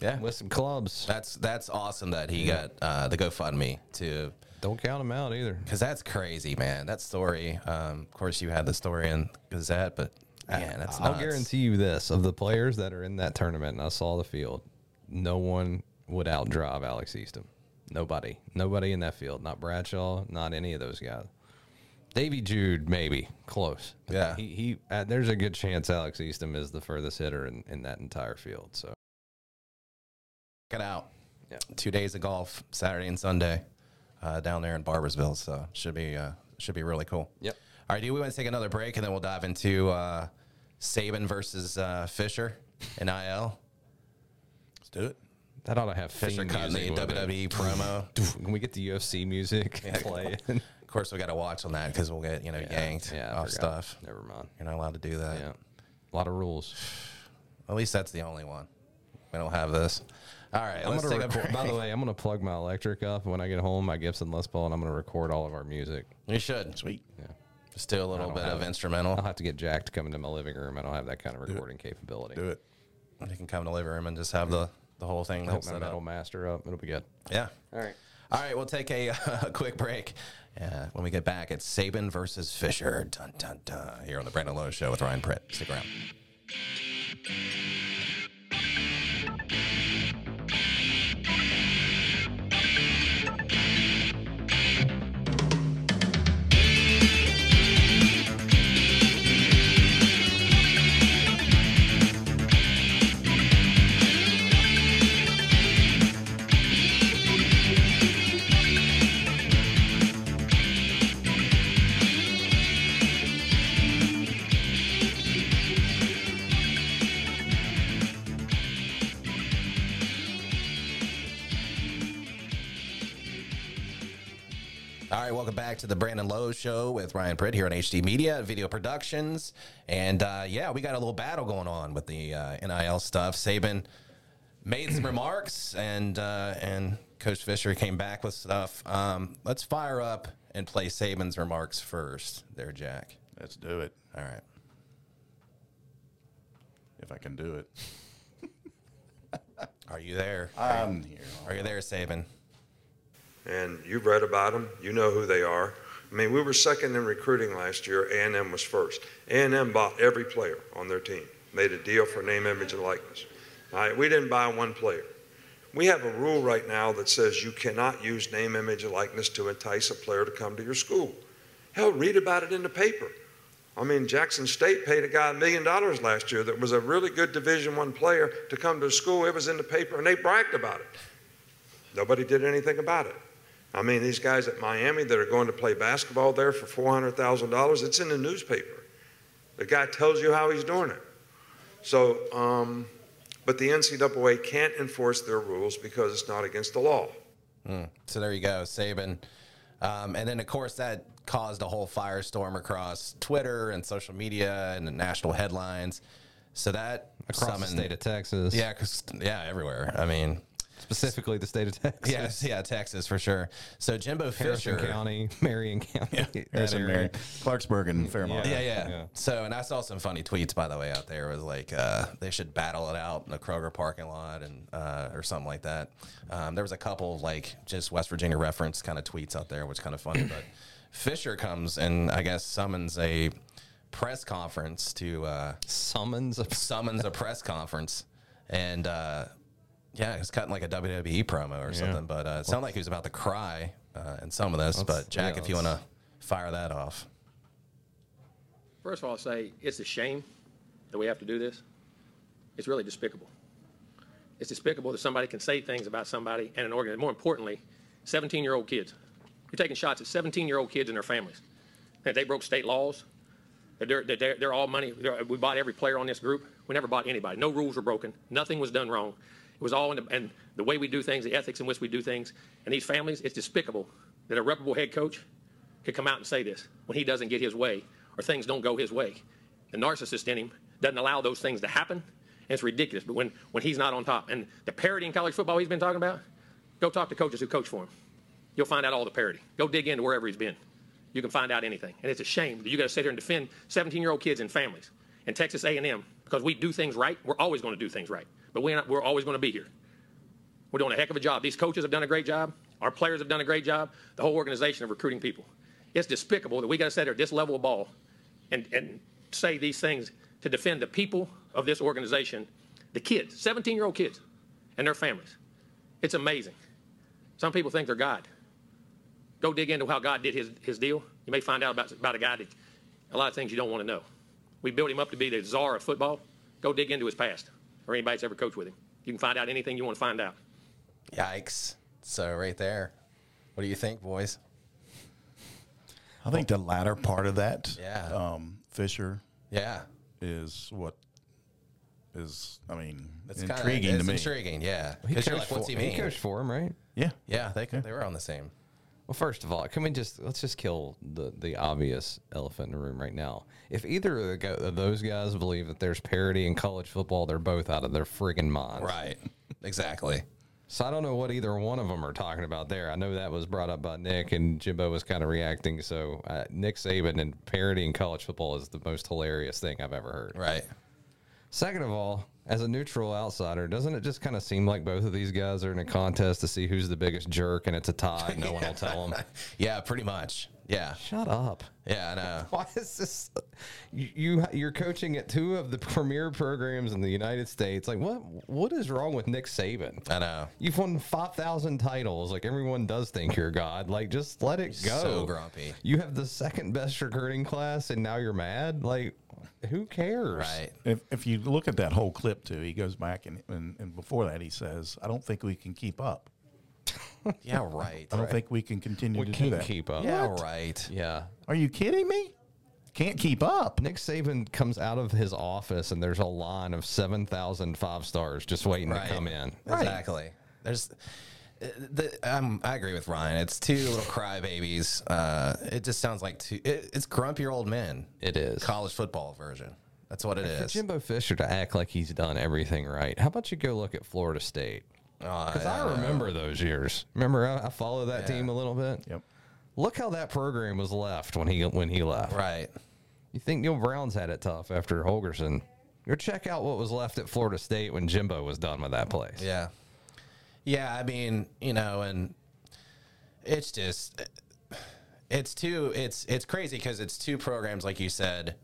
A: yeah.
B: with some clubs.
A: That's that's awesome that he got uh, the GoFundMe to
B: Don't count him out either.
A: because that's crazy, man. That story. Um, of course, you had the story in Gazette, but man, that's
B: I'll
A: nuts.
B: guarantee you this: of the players that are in that tournament, and I saw the field, no one would outdrive Alex Easton. Nobody, nobody in that field. Not Bradshaw, not any of those guys. Davy Jude, maybe close.
A: Yeah.
B: he, he uh, there's a good chance Alex Easton is the furthest hitter in, in that entire field. So
A: Check it out.
B: Yeah.
A: Two days of golf, Saturday and Sunday, uh, down there in Barbersville. So should be uh, should be really cool.
B: Yep.
A: All right, do we want to take another break and then we'll dive into uh, Saban versus uh, Fisher, NIL?
C: Let's do it.
B: That ought to have
A: Fisher
B: theme
A: cutting the
B: music with it.
A: WWE E promo.
B: [LAUGHS] Can we get the UFC music [LAUGHS]
A: [LAUGHS]
B: playing?
A: Of course, we got to watch on that because we'll get you know yanked
B: I
A: off
B: forgot.
A: stuff.
B: Never mind.
A: You're not allowed to do that.
B: Yeah, a lot of rules.
A: At least that's the only one. We don't have this. All right,
B: I'm
A: let's
B: gonna
A: take a break. [LAUGHS]
B: record, by the way, I'm gonna plug my electric up when I get home, my Gibson Les Paul, and I'm gonna record all of our music.
A: We should
C: Sweet.
A: just do a little
B: don't
A: bit
B: have
A: of
B: it. Uh-huh.
A: instrumental.
B: I'll have to get Jack to come into my living room. I don't have that kind of recording capability.
C: Do it.
A: You can come to the living room and just have the, the whole thing
B: Hook
A: that's
B: my
A: set
B: metal
A: up.
B: master up. It'll be good.
A: Yeah.
B: All right.
A: All right, we'll take a, [LAUGHS] a quick break. Uh, when we get back, it's Saban versus Fisher. Dun, dun, dun, here on the Brandon Lowe Show with Ryan Pritt. Stick around. All right, welcome back to the Brandon Lowe Show with Ryan Pritt here on HD Media Video Productions, and uh, yeah, we got a little battle going on with the uh, NIL stuff. Saban made some remarks, and uh, and Coach Fisher came back with stuff. Um, let's fire up and play Saban's remarks first. There, Jack.
C: Let's do it.
A: All right.
C: If I can do it.
A: Are you there?
C: I'm here.
A: Are you there, Saban?
E: and you've read about them. You know who they are. I mean, we were second in recruiting last year. A&M was first. A&M bought every player on their team. Made a deal for name, image, and likeness. All right, we didn't buy one player. We have a rule right now that says you cannot use name, image, and likeness to entice a player to come to your school. Hell, read about it in the paper. I mean, Jackson State paid a guy a million dollars last year that was a really good Division One player to come to school. It was in the paper, and they bragged about it. Nobody did anything about it. I mean, these guys at Miami that are going to play basketball there for $400,000, it's in the newspaper. The guy tells you how he's doing it. So, um, but the NCAA can't enforce their rules because it's not against the law.
A: So there you go, Saban. Um, and then, of course, that caused a whole firestorm across Twitter and social media and the national headlines. So that
B: Across
A: summoned-
B: the state of Texas.
A: yeah, 'cause- yeah, everywhere. I mean,
B: Specifically the state of Texas.
A: yes, yeah, Texas for sure. So Jimbo
B: Harrison
A: Fisher,
B: County, [LAUGHS] Marion County. that
C: Harrison,
B: area.
C: Mary, Clarksburg, and Fairmont.
A: yeah, yeah,
B: Yeah.
A: So, and I saw some funny tweets by the way out there. It was like uh, they should battle it out in the Kroger parking lot and uh, or something like that. Um, there was a couple of like just West Virginia reference kind of tweets out there, which kind of funny. but Fisher comes and I guess summons a press conference to uh,
B: Summons. Of,
A: summons a press conference and. Uh, yeah, it's cutting like a WWE promo or something, but uh, it sounded like he was about to cry uh, in some of this. but Jack,
B: yeah,
A: if you want
B: let's-
A: to fire that off,
F: First of all, I'll say it's a shame that we have to do this. It's really despicable. It's despicable that somebody can say things about somebody and an organ. More importantly, 17-year-old kids. You're taking shots at 17-year-old kids and their families. That they broke state laws. That they're, that they're, they're all money. They're, we bought every player on this group. We never bought anybody. No rules were broken. Nothing was done wrong. It was all in the, and the way we do things, the ethics in which we do things, and these families. It's despicable that a reputable head coach could come out and say this when he doesn't get his way or things don't go his way. The narcissist in him doesn't allow those things to happen, and it's ridiculous. But when, when he's not on top, and the parody in college football he's been talking about, go talk to coaches who coach for him. You'll find out all the parody. Go dig into wherever he's been. You can find out anything. And it's a shame that you got to sit here and defend 17-year-old kids and families and Texas A&M because we do things right. We're always going to do things right, but we're, not, we're always going to be here. We're doing a heck of a job. These coaches have done a great job. Our players have done a great job. The whole organization of recruiting people. It's despicable that we got to sit at this level of ball and, and say these things to defend the people of this organization, the kids, 17 year old kids, and their families. It's amazing. Some people think they're God. Go dig into how God did his, his deal. You may find out about, about a guy that a lot of things you don't want to know. We built him up to be the czar of football. Go dig into his past or anybody that's ever coached with him. You can find out anything you want to find out.
A: yikes! So right there, what do you think, boys?
C: I think the latter part of that,
A: Yeah.
C: um, Fisher,
A: Yeah.
C: is what is, I mean,
A: It's kinda-
C: intriguing
A: it's
C: to me.
A: Intriguing, yeah.
B: He
A: Because you're
B: coached
A: like, what's
B: for-
A: he mean?
B: coached for him, right?
C: Yeah.
A: Yeah, they they were on the same.
B: Well, first of all, can we just let's just kill the the obvious elephant in the room right now? If either of, the, go- of those guys believe that there's parity in college football, they're both out of their friggin' minds.
A: Right. Exactly.
B: So I don't know what either one of them are talking about there. I know that was brought up by Nick, and Jimbo was kind of reacting. So uh, Nick Saban and parody in college football is the most hilarious thing I've ever heard.
A: Right.
B: Second of all, as a neutral outsider, doesn't it just kind of seem like both of these guys are in a contest to see who's the biggest jerk, and it's a tie, and no one will tell
A: [LAUGHS]
B: them.
A: Yeah, pretty much. Yeah.
B: Shut up. [LAUGHS]
A: Yeah, I know.
B: Why is this? You, you you're coaching at two of the premier programs in the United States. Like what? What is wrong with Nick Saban?
A: I know.
B: You've won five thousand titles. Like everyone does think you're God. Like just let it go.
A: So grumpy.
B: You have the second best recruiting class, and now you're mad. Like who cares?
A: Right.
C: If, if you look at that whole clip too, he goes back and, and, and before that he says, "I don't think we can keep up.
A: Yeah, right.
C: I don't think we can continue
B: We
C: to do
B: can't
C: that."
B: keep up.
A: Yeah, right.
B: Yeah.
C: Are you kidding me? Can't keep up.
B: Nick Saban comes out of his office, and there's a line of seven thousand five stars just waiting
A: Right.
B: to come in.
A: Exactly. There's. uh, The, um, I agree with Ryan. It's two little crybabies. Uh, it just sounds like two. It, it's grumpier old men.
B: It is.
A: college football version. That's what it
B: For
A: is.
B: Jimbo Fisher to act like he's done everything right, how about you go look at Florida State?
A: Uh,
B: Because I remember those years. Remember, I, I followed that team a little bit.
C: Yep.
B: Look how that program was left when he when he left.
A: Right.
B: You think Neil Brown's had it tough after Holgerson? Or check out what was left at Florida State when Jimbo was done with that place.
A: Yeah. Yeah, I mean, you know, and it's just it's two it's it's crazy cuz it's two programs like you said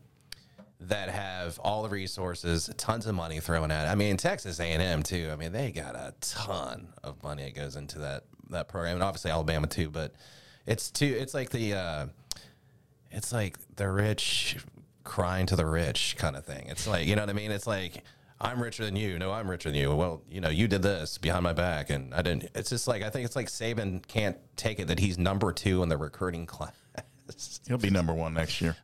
A: that have all the resources, tons of money thrown at. It. I mean, Texas A&M too. I mean, they got a ton of money that goes into that that program and obviously Alabama too, but it's two it's like the uh it's like the rich crying to the rich kind of thing. It's like, you know what I mean? It's like, I'm richer than you. No, I'm richer than you. Well, you know, you did this behind my back and I didn't. It's just like, I think it's like Saban can't take it that he's number two in the recruiting class.
C: He'll be number one next
B: [LAUGHS]
C: year.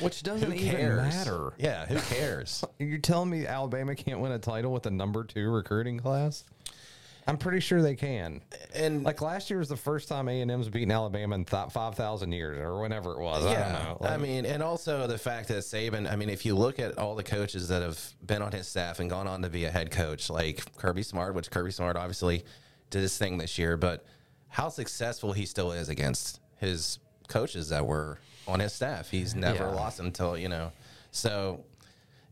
B: Which doesn't even matter.
A: Yeah, who
B: [LAUGHS]
A: cares?
B: You're telling me Alabama can't win a title with a number two recruiting class? I'm pretty sure they can.
A: and
B: Like last year was the first time A and M's beaten Alabama in th- five thousand years or whenever it was. I don't
A: Yeah,
B: know. Like,
A: I mean, and also the fact that Saban. I mean, if you look at all the coaches that have been on his staff and gone on to be a head coach, like Kirby Smart, which Kirby Smart obviously did his thing this year, but how successful he still is against his coaches that were on his staff. He's never
B: Yeah.
A: lost until you know. So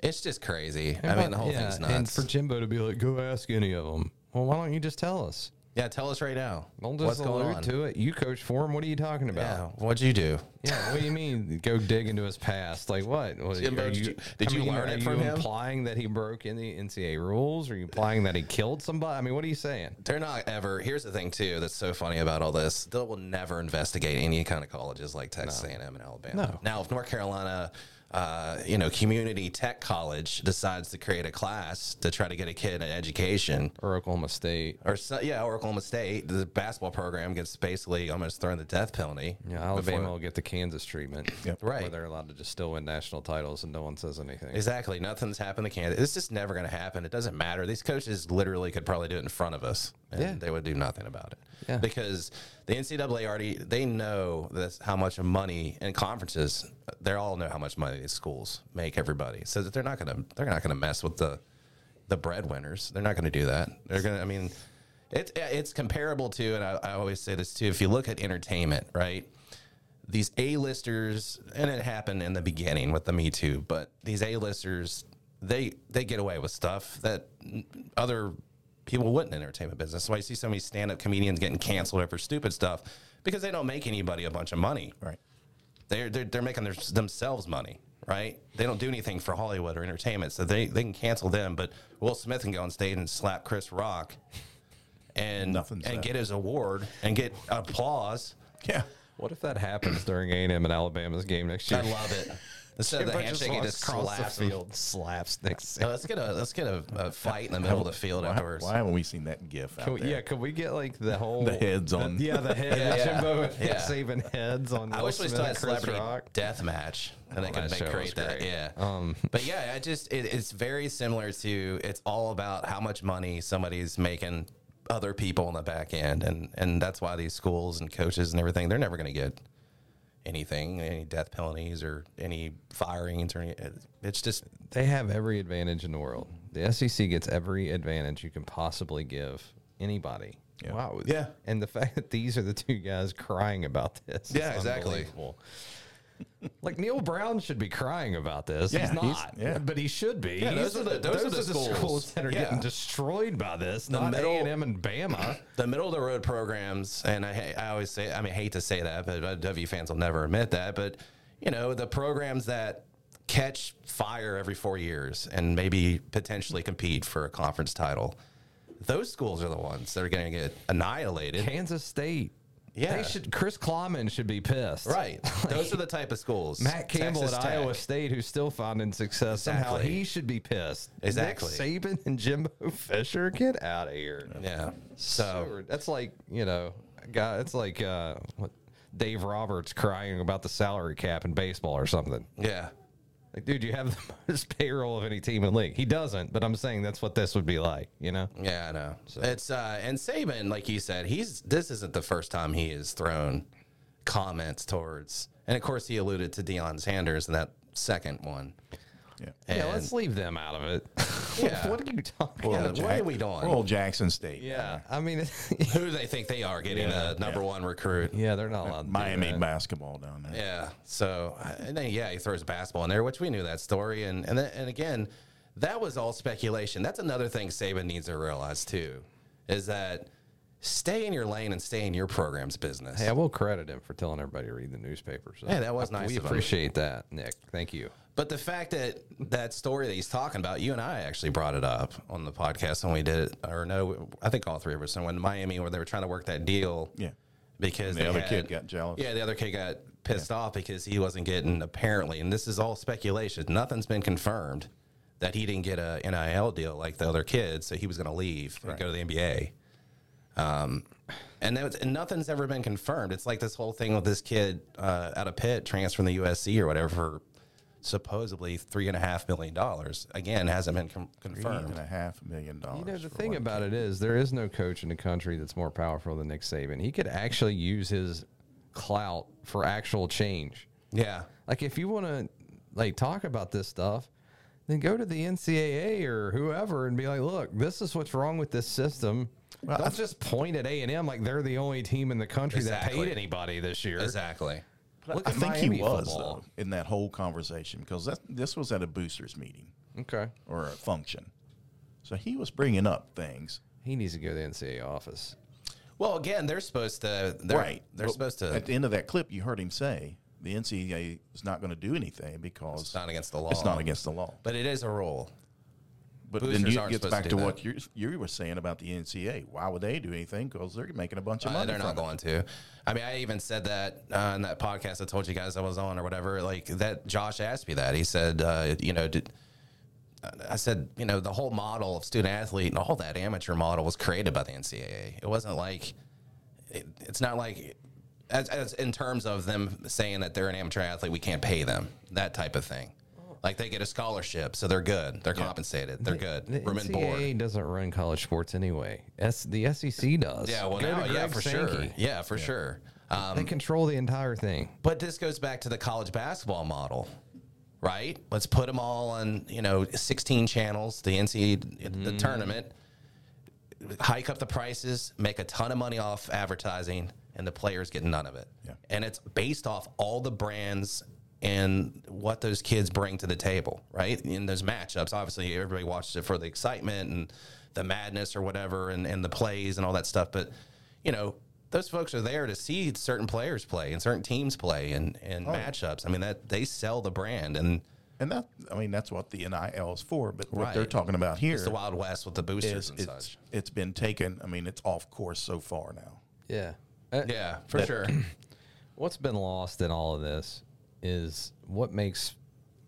A: it's just crazy. I mean, the whole
B: Yeah,
A: thing's
B: And
A: nuts.
B: for Jimbo to be like, go ask any of them. Well, why don't you just tell us?
A: yeah, tell us right now.
B: Don't just
A: what's going
B: allude
A: on?
B: to it. You coach for him. What are you talking
A: Yeah,
B: about?
A: what'd you do?
B: Yeah. What do you mean? Go dig into his past? Like what? Was-
A: Jimbo,
B: are
A: did you- did
B: I
A: you
B: mean,
A: learn
B: are
A: it from
B: you
A: him?
B: Implying that he broke any NCAA rules? Are you implying that he killed somebody? I mean, what are you saying?
A: They're not ever. Here's the thing too that's so funny about all this. They will never investigate any kind of colleges like Texas A&M and Alabama.
B: No.
A: Now, if North Carolina, uh, you know, community tech college decides to create a class to try to get a kid an education,
B: Or Oklahoma State?
A: or so, yeah, or Oklahoma State, the basketball program gets basically almost thrown the death penalty.
B: Yeah, Alabama
A: before-
B: will get the Kansas treatment.
C: Yep.
A: Right.
B: Where they're allowed to just still win national titles and no one says anything.
A: Exactly. Nothing's happened to Kansas. It's just never going to happen. It doesn't matter. These coaches literally could probably do it in front of us, and
B: Yeah.
A: they would do nothing about it.
B: Yeah.
A: Because the NCAA already they know this, how much money and conferences they all know how much money these schools make everybody, so that they're not going to they're not going to mess with the the breadwinners. They're not going to do that. They're going to. I mean, it's it's comparable to, and I, I always say this too. If you look at entertainment, right? these A-listers, and it happened in the beginning with the Me Too, but these A-listers, they they get away with stuff that n- other people wouldn't in the entertainment business. So I see so many stand-up comedians getting canceled over stupid stuff because they don't make anybody a bunch of money.
C: Right.
A: They're they're, they're making their, themselves money, right? They don't do anything for Hollywood or entertainment, so they they can cancel them. But Will Smith can go on stage and slap Chris Rock, and
C: Nothing
A: and
C: said.
A: get his award and get applause.
C: Yeah.
B: What if that happens during A and M and Alabama's game next
A: I
B: [LAUGHS] year?
A: love it. Instead of the
B: Everybody
A: handshake, he just
B: walks across
A: slaps
B: the
A: him.
B: field, slaps next.
A: Now, let's get a let's get a, a fight in the middle of the field
C: Why,
A: afterwards.
C: why haven't we seen that GIF out
B: [LAUGHS] Can we-
C: there?
B: yeah, could we get like the whole
C: The heads on-
A: [LAUGHS]
B: yeah, the head.
A: Yeah, yeah.
B: Jimbo and
A: Yeah.
B: [LAUGHS] saving heads on.
A: I
B: Will
A: wish we
B: Smith
A: still had
B: and Chris
A: celebrity
B: Rock.
A: death match, and they
B: Oh,
A: could
B: that show
A: make,
B: was
A: create that.
B: great.
A: Yeah,
B: Um,
A: but yeah, I just it, it's very similar to. It's all about how much money somebody's making other people on the back end, and and that's why these schools and coaches and everything they're never going to get anything, any death penalties or any firings or any. It's just
B: They have every advantage in the world. The SEC gets every advantage you can possibly give anybody.
C: Yeah.
B: Wow.
C: Yeah.
B: And the [LAUGHS] fact that these are the two guys crying about this.
A: Yeah,
B: is
A: exactly.
B: unbelievable. [LAUGHS] Like Neil Brown should be crying about this.
C: Yeah,
B: he's not,
C: he's- yeah.
B: but he should be.
A: Yeah, those
B: He's-
A: are the- those are the schools.
B: that are
A: Yeah.
B: getting destroyed by this. not
A: middle-
B: A&M and Bama.
A: the middle of the road programs, and I, I always say, I mean, I hate to say that, but W fans will never admit that. But you know, the programs that catch fire every four years and maybe potentially compete for a conference title, those schools are the ones that are going to get annihilated.
B: Kansas State.
A: Yeah.
B: They should Chris Kleiman should be pissed.
A: Right? Those are the type of schools.
B: Matt Campbell
A: Texas
B: at
A: Tech.
B: Iowa State, who's still finding success somehow,
A: Exactly.
B: he should be pissed.
A: Exactly.
B: Nick Saban and Jimbo [LAUGHS] Fisher, get out of here.
A: Yeah.
B: So
A: So
B: rid- that's like you know, guy. It's like uh, what Dave Roberts crying about the salary cap in baseball or something.
A: yeah,
B: Like, dude, you have the [LAUGHS] most payroll of any team in the league. He doesn't, but I'm saying that's what this would be like. You know,
A: yeah, I know. It's uh, and Saban, like you said, he's this isn't the first time he has thrown comments towards, and of course he alluded to Deion Sanders in that second one.
C: Yeah.
B: [LAUGHS] yeah.
A: And-
B: Let's leave them out of it. [LAUGHS]
A: Yeah.
B: what are you talking?
A: Yeah,
B: about?
A: what are we doing?
C: We're old Jackson State.
B: Yeah, I mean, [LAUGHS]
A: Who they think they are getting
B: Yeah.
A: a number one recruit?
B: yeah, they're not allowed. to do
C: Miami
B: that.
C: basketball down there.
A: Yeah. So and then yeah, he throws a basketball in there, which we knew that story, and and then, and again, that was all speculation. That's another thing Saban needs to realize too, is that stay in your lane and stay in your program's business.
B: Hey, I will credit him for telling everybody to read the newspaper. So
A: Hey, that was nice
B: We
A: of him.
B: appreciate that, Nick. Thank you.
A: But the fact that that story that he's talking about, you and I actually brought it up on the podcast when we did it, or no, I think all three of us. And when Miami, where they were trying to work that deal,
C: Yeah.
A: because
C: And the
A: they
C: other
A: had-
C: kid got jealous.
A: Yeah, the other kid got pissed off because he wasn't getting apparently, and this is all speculation. Nothing's been confirmed that he didn't get a NIL deal like the other kid, so he was going to leave and go to the NBA. Um, and, that was, and nothing's ever been confirmed. It's like this whole thing with this kid uh, out of Pitt transferring the USC or whatever for supposedly three and a half million dollars. Again, hasn't been com-
C: Three and
A: confirmed.
C: a half million dollars.
B: You know, the
C: for
B: thing
C: one
B: about it is, there is no coach in the country that's more powerful than Nick Saban. He could actually use his clout for actual change.
A: Yeah,
B: Like, if you want to like talk about this stuff, then go to the NCAA or whoever and be like, "Look, this is what's wrong with this system." Don't just point at A and M like they're the only team in the country that
A: Exactly.
B: paid anybody this year.
A: exactly.
B: Look
C: I
B: at
C: think
B: Miami
C: he was
B: football.
C: though, in that whole conversation because that, this was at a boosters meeting
B: Okay.
C: or a function, so he was bringing up things.
B: He needs to go to the NCAA office.
A: Well, again, they're supposed to. They're,
C: right,
A: They're
C: But
A: supposed to.
C: At the end of that clip, you heard him say the NCAA is not going to do anything because
A: it's not against the law.
C: it's not against the law.
A: But it is a rule.
C: But
A: Boosters
C: then you
A: aren't
C: gets
A: supposed
C: back
A: to
C: to,
A: do
C: what
A: that.
C: you you were saying about the NCAA. Why would they do anything? Because they're making a bunch of
A: Uh,
C: money.
A: they're not
C: from it.
A: going to. I mean, I even said that uh, in that podcast I told you guys I was on or whatever. Like that, Josh asked me that. He said, uh, you know, did, I said, you know, the whole model of student athlete and all that amateur model was created by the NCAA. It wasn't like, it, it's not like, as, as in terms of them saying that they're an amateur athlete, we can't pay them that type of thing. Like they get a scholarship, so they're good. They're compensated. They're good.
B: Oh. The
A: Room and board.
B: NCAA doesn't run college sports anyway. S- the SEC does.
A: Yeah, well,
B: Go to
A: now, yeah,
B: Greg
A: for sure.
B: Sankey.
A: Yeah, for sure. Um,
B: They control the entire thing.
A: but this goes back to the college basketball model, right? Let's put them all on, you know, 16 channels, the NCAA,
B: Mm-hmm.
A: the tournament, hike up the prices, make a ton of money off advertising, and the players get none of it.
C: Yeah.
A: And it's based off all the brands and what those kids bring to the table, right? In those matchups, obviously everybody watches it for the excitement and the madness or whatever and, and the plays and all that stuff. But, you know, those folks are there to see certain players play and certain teams play and, and
C: Oh.
A: matchups. I mean that they sell the brand and
C: And that I mean that's what the NIL is for. But what
A: Right.
C: they're talking about here
A: it's the Wild West with the boosters
C: is
A: and
C: it's,
A: such.
C: it's been taken. I mean it's off course so far now.
B: Yeah.
A: Yeah,
C: [CLEARS THROAT]
A: for sure.
B: What's been lost in all of this is what makes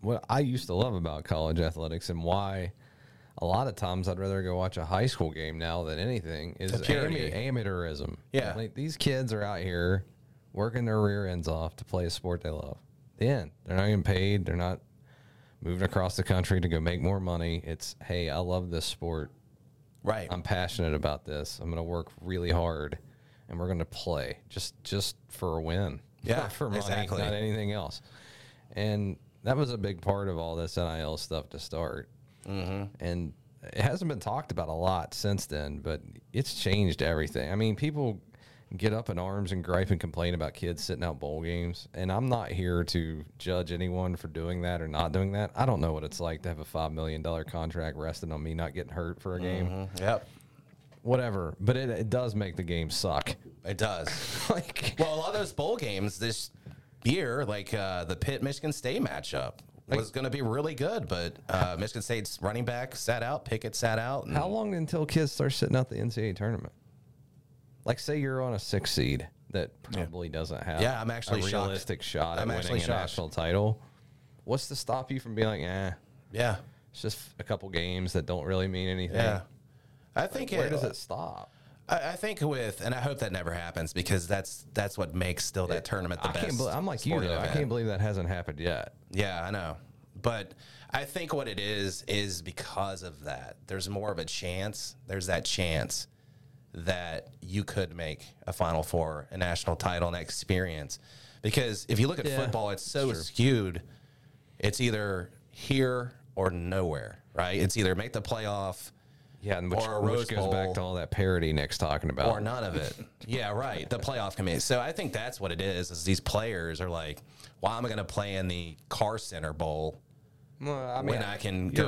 B: what I used to love about college athletics and why a lot of times I'd rather go watch a high school game now than anything is
A: The purity.
B: ama- amateurism.
A: Yeah.
B: Like these kids are out here working their rear ends off to play a sport they love. Then they're not getting paid. They're not moving across the country to go make more money. It's, hey, I love this sport.
A: Right.
B: I'm passionate about this. I'm going to work really hard, and we're going to play just just for a win. [LAUGHS]
A: Yeah,
B: not for money,
A: exactly.
B: not anything else. And that was a big part of all this NIL stuff to start. Mm-hmm. And it hasn't been talked about a lot since then, but it's changed everything. I mean, people get up in arms and gripe and complain about kids sitting out bowl games, and I'm not here to judge anyone for doing that or not doing that. I don't know what it's like to have a five million dollar contract resting on me not getting hurt for a game
A: yep.
B: whatever. But it, it does make the game suck.
A: It does.
B: [LAUGHS] like,
A: Well, a lot of those bowl games this year, like uh, the Pitt Michigan State matchup, was going to be really good, but uh, Michigan State's running back sat out, Pickett sat out. And
B: how long until kids start sitting out the NCAA tournament? Like, say you're on a six seed that probably doesn't have
A: Yeah, I'm actually
B: a
A: shocked.
B: realistic shot at
A: I'm
B: winning
A: actually
B: a
A: shocked.
B: national title. What's to stop you from being like, eh,
A: yeah,
B: it's just a couple games that don't really mean anything?
A: yeah. I think
B: Where
A: it,
B: does it stop?
A: I, I think with, and I hope that never happens because that's that's what makes still that tournament the
B: I
A: best.
B: can't. Be- I'm like you
A: sporting
B: though. I
A: event.
B: can't believe that hasn't happened yet.
A: Yeah, I know. But I think what it is is because of that. There's more of a chance. There's that chance that you could make a Final Four, a national title, an experience. Because if you look at
B: Yeah,
A: football, it's so skewed. It's either here or nowhere, right? It's either make the playoff
B: Yeah, and which,
A: Or a Rose
B: which goes back
A: Bowl.
B: to all that parody Nick's talking about.
A: or none of it. yeah, right. The playoff committee. So I think that's what it is. Is these players are like, why am I going to play in the Car Center Bowl
B: Well, I
A: when I can go?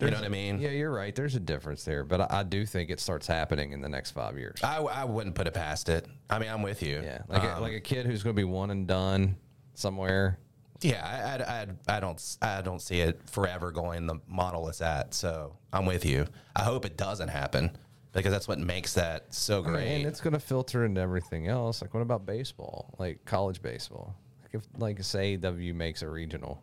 A: You know what I mean?
B: Yeah, you're right. There's a difference there, but I, I do think it starts happening in the next five years.
A: I, I wouldn't put it past it. I mean, I'm with you.
B: yeah, like a,
A: Um,
B: like a kid who's going to be one and done somewhere.
A: yeah. I, I, I, I don't s- I don't see it forever going the model it's at. So I'm with you. I hope it doesn't happen because that's what makes that so great.
B: And it's going to filter into everything else. Like, what about baseball? Like college baseball. Like if like say W makes a regional,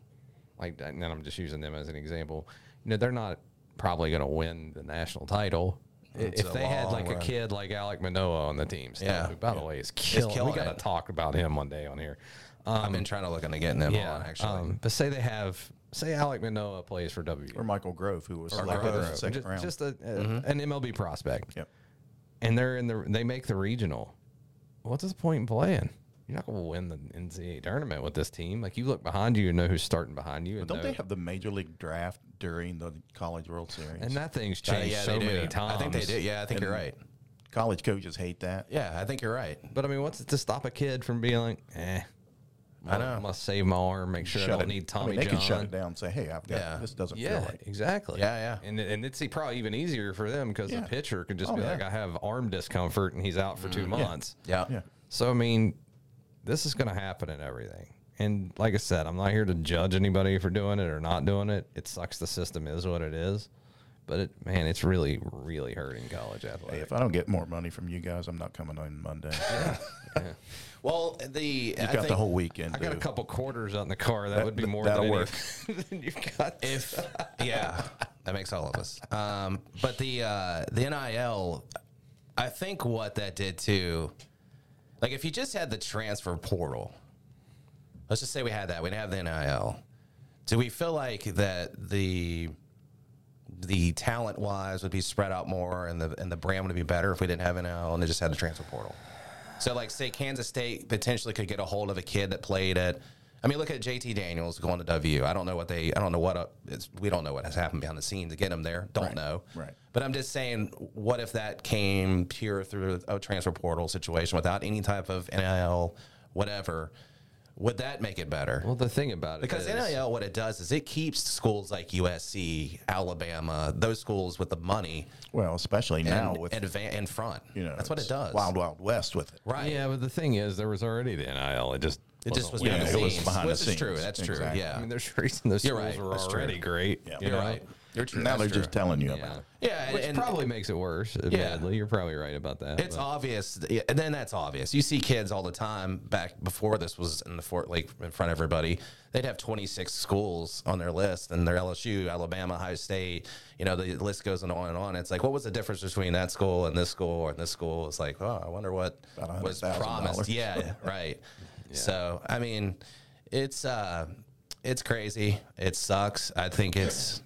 B: like that- and then I'm just using them as an example. You know, they're not probably going to win the national title. I-
A: It's
B: if
A: a
B: they had
A: long
B: like
A: run.
B: a kid like Alec Manoa on the team, still,
A: Yeah.
B: who, by the way, is killing.
A: killing
B: we got
A: it.
B: to talk about him one day on here.
A: I've been trying to look into getting them on actually.
B: Um, but say they have, say Alec Manoa plays for W. uh,
C: Or Michael Grove, who was selected in the
B: Just-
C: second round.
B: just a, a- an MLB prospect,
C: yep.
B: and they're in the they make the regional. What's the point in playing? You're not going to win the NCAA tournament with this team. Like you look behind you and know who's starting behind you. And
C: Don't
B: know-
C: they have the major league draft during the college World Series?
B: And that thing's
A: Uh,
B: changed
A: yeah,
B: so
A: they do.
B: many times.
A: I think they do. Yeah, I think you're
C: And-
A: right.
C: college coaches hate that.
A: Yeah, I think you're right.
B: But I mean, what's it to stop a kid from being like, eh? I
A: know.
B: must save my arm, make sure I don't
C: it.
B: need
C: I
B: Tommy
C: mean, they
B: John.
C: can shut it down and say, "Hey, I've got
A: Yeah.
C: this. Doesn't
B: Yeah,
C: feel right."
B: exactly.
A: Yeah, yeah.
B: And and it's e, probably even easier for them because
C: Yeah.
B: the pitcher can just
C: Oh,
B: be
C: yeah.
B: like, I have arm discomfort and he's out for two months.
A: Yeah.
C: Yeah,
B: So I mean, this is going to happen in everything. And like I said, I'm not here to judge anybody for doing it or not doing it. It sucks. The system is what it is. But it, man, it's really, really hurting college
C: Hey,
B: athletics.
C: if I don't get more money from you guys, I'm not coming on Monday.
A: [LAUGHS]
C: Yeah.
A: Well, the I
C: You've got
A: think
C: the whole weekend.
B: I got a
C: dude.
B: couple quarters out in the car. That, would be more
C: that'll
B: than
C: work.
B: any- [LAUGHS] than you've got.
A: if yeah that makes all of us um but the uh the nil i think what that did too like if you just had the transfer portal let's just say we had that we didn't have the nil do we feel like that the the talent wise would be spread out more and the and the brand would be better if we didn't have nil and they just had the transfer portal so, like, say Kansas State potentially could get a hold of a kid that played at. I mean, look at JT Daniels going to W. I don't know what they. I don't know what. uh it's, we don't know what has happened behind the scenes to get him there. Don't know.
C: right.
A: But I'm just saying, what if that came pure through a transfer portal situation without any type of NIL, whatever? Would that make it better?
B: well, the thing about it
A: Because
B: is-
A: NIL, what it does is it keeps schools like USC, Alabama, those schools with the money
C: Well, especially now
A: and,
C: with
A: advan- in front.
C: you know,
A: that's what it
C: it's
A: does.
C: Wild Wild West with it.
A: Right.
B: yeah, but the thing is, there was already the NIL. It just
A: It just was
B: wasn't
A: behind
C: Yeah,
A: the
C: it was
A: scenes,
C: behind the
A: which is true.
C: scenes.
A: That's true.
C: Exactly.
A: Yeah,
B: I mean, there's [LAUGHS] reason those
A: You're
B: schools
A: right.
B: were
A: That's true.
B: already great.
C: Yeah.
B: you
A: You're
B: know?
A: right. You're true.
C: Now
A: That's
C: they're
A: true.
C: just telling you about it.
B: Yeah.
A: yeah, and,
B: Which
A: and
B: probably makes it worse. Admittedly, you're probably right about that.
A: it's
B: but-
A: obvious. th- yeah, And then that's obvious. You see kids all the time. Back before this was in the Fort Lake in front of everybody, they'd have 26 schools on their list, and their LSU, Alabama, Ohio State. You know, the list goes on and on. It's like, what was the difference between that school and this school and this school? It's like, oh, I wonder what
C: About
A: was
C: $100,000.
A: promised. Yeah, right. So, I mean, it's uh, it's crazy. It sucks. I think it's.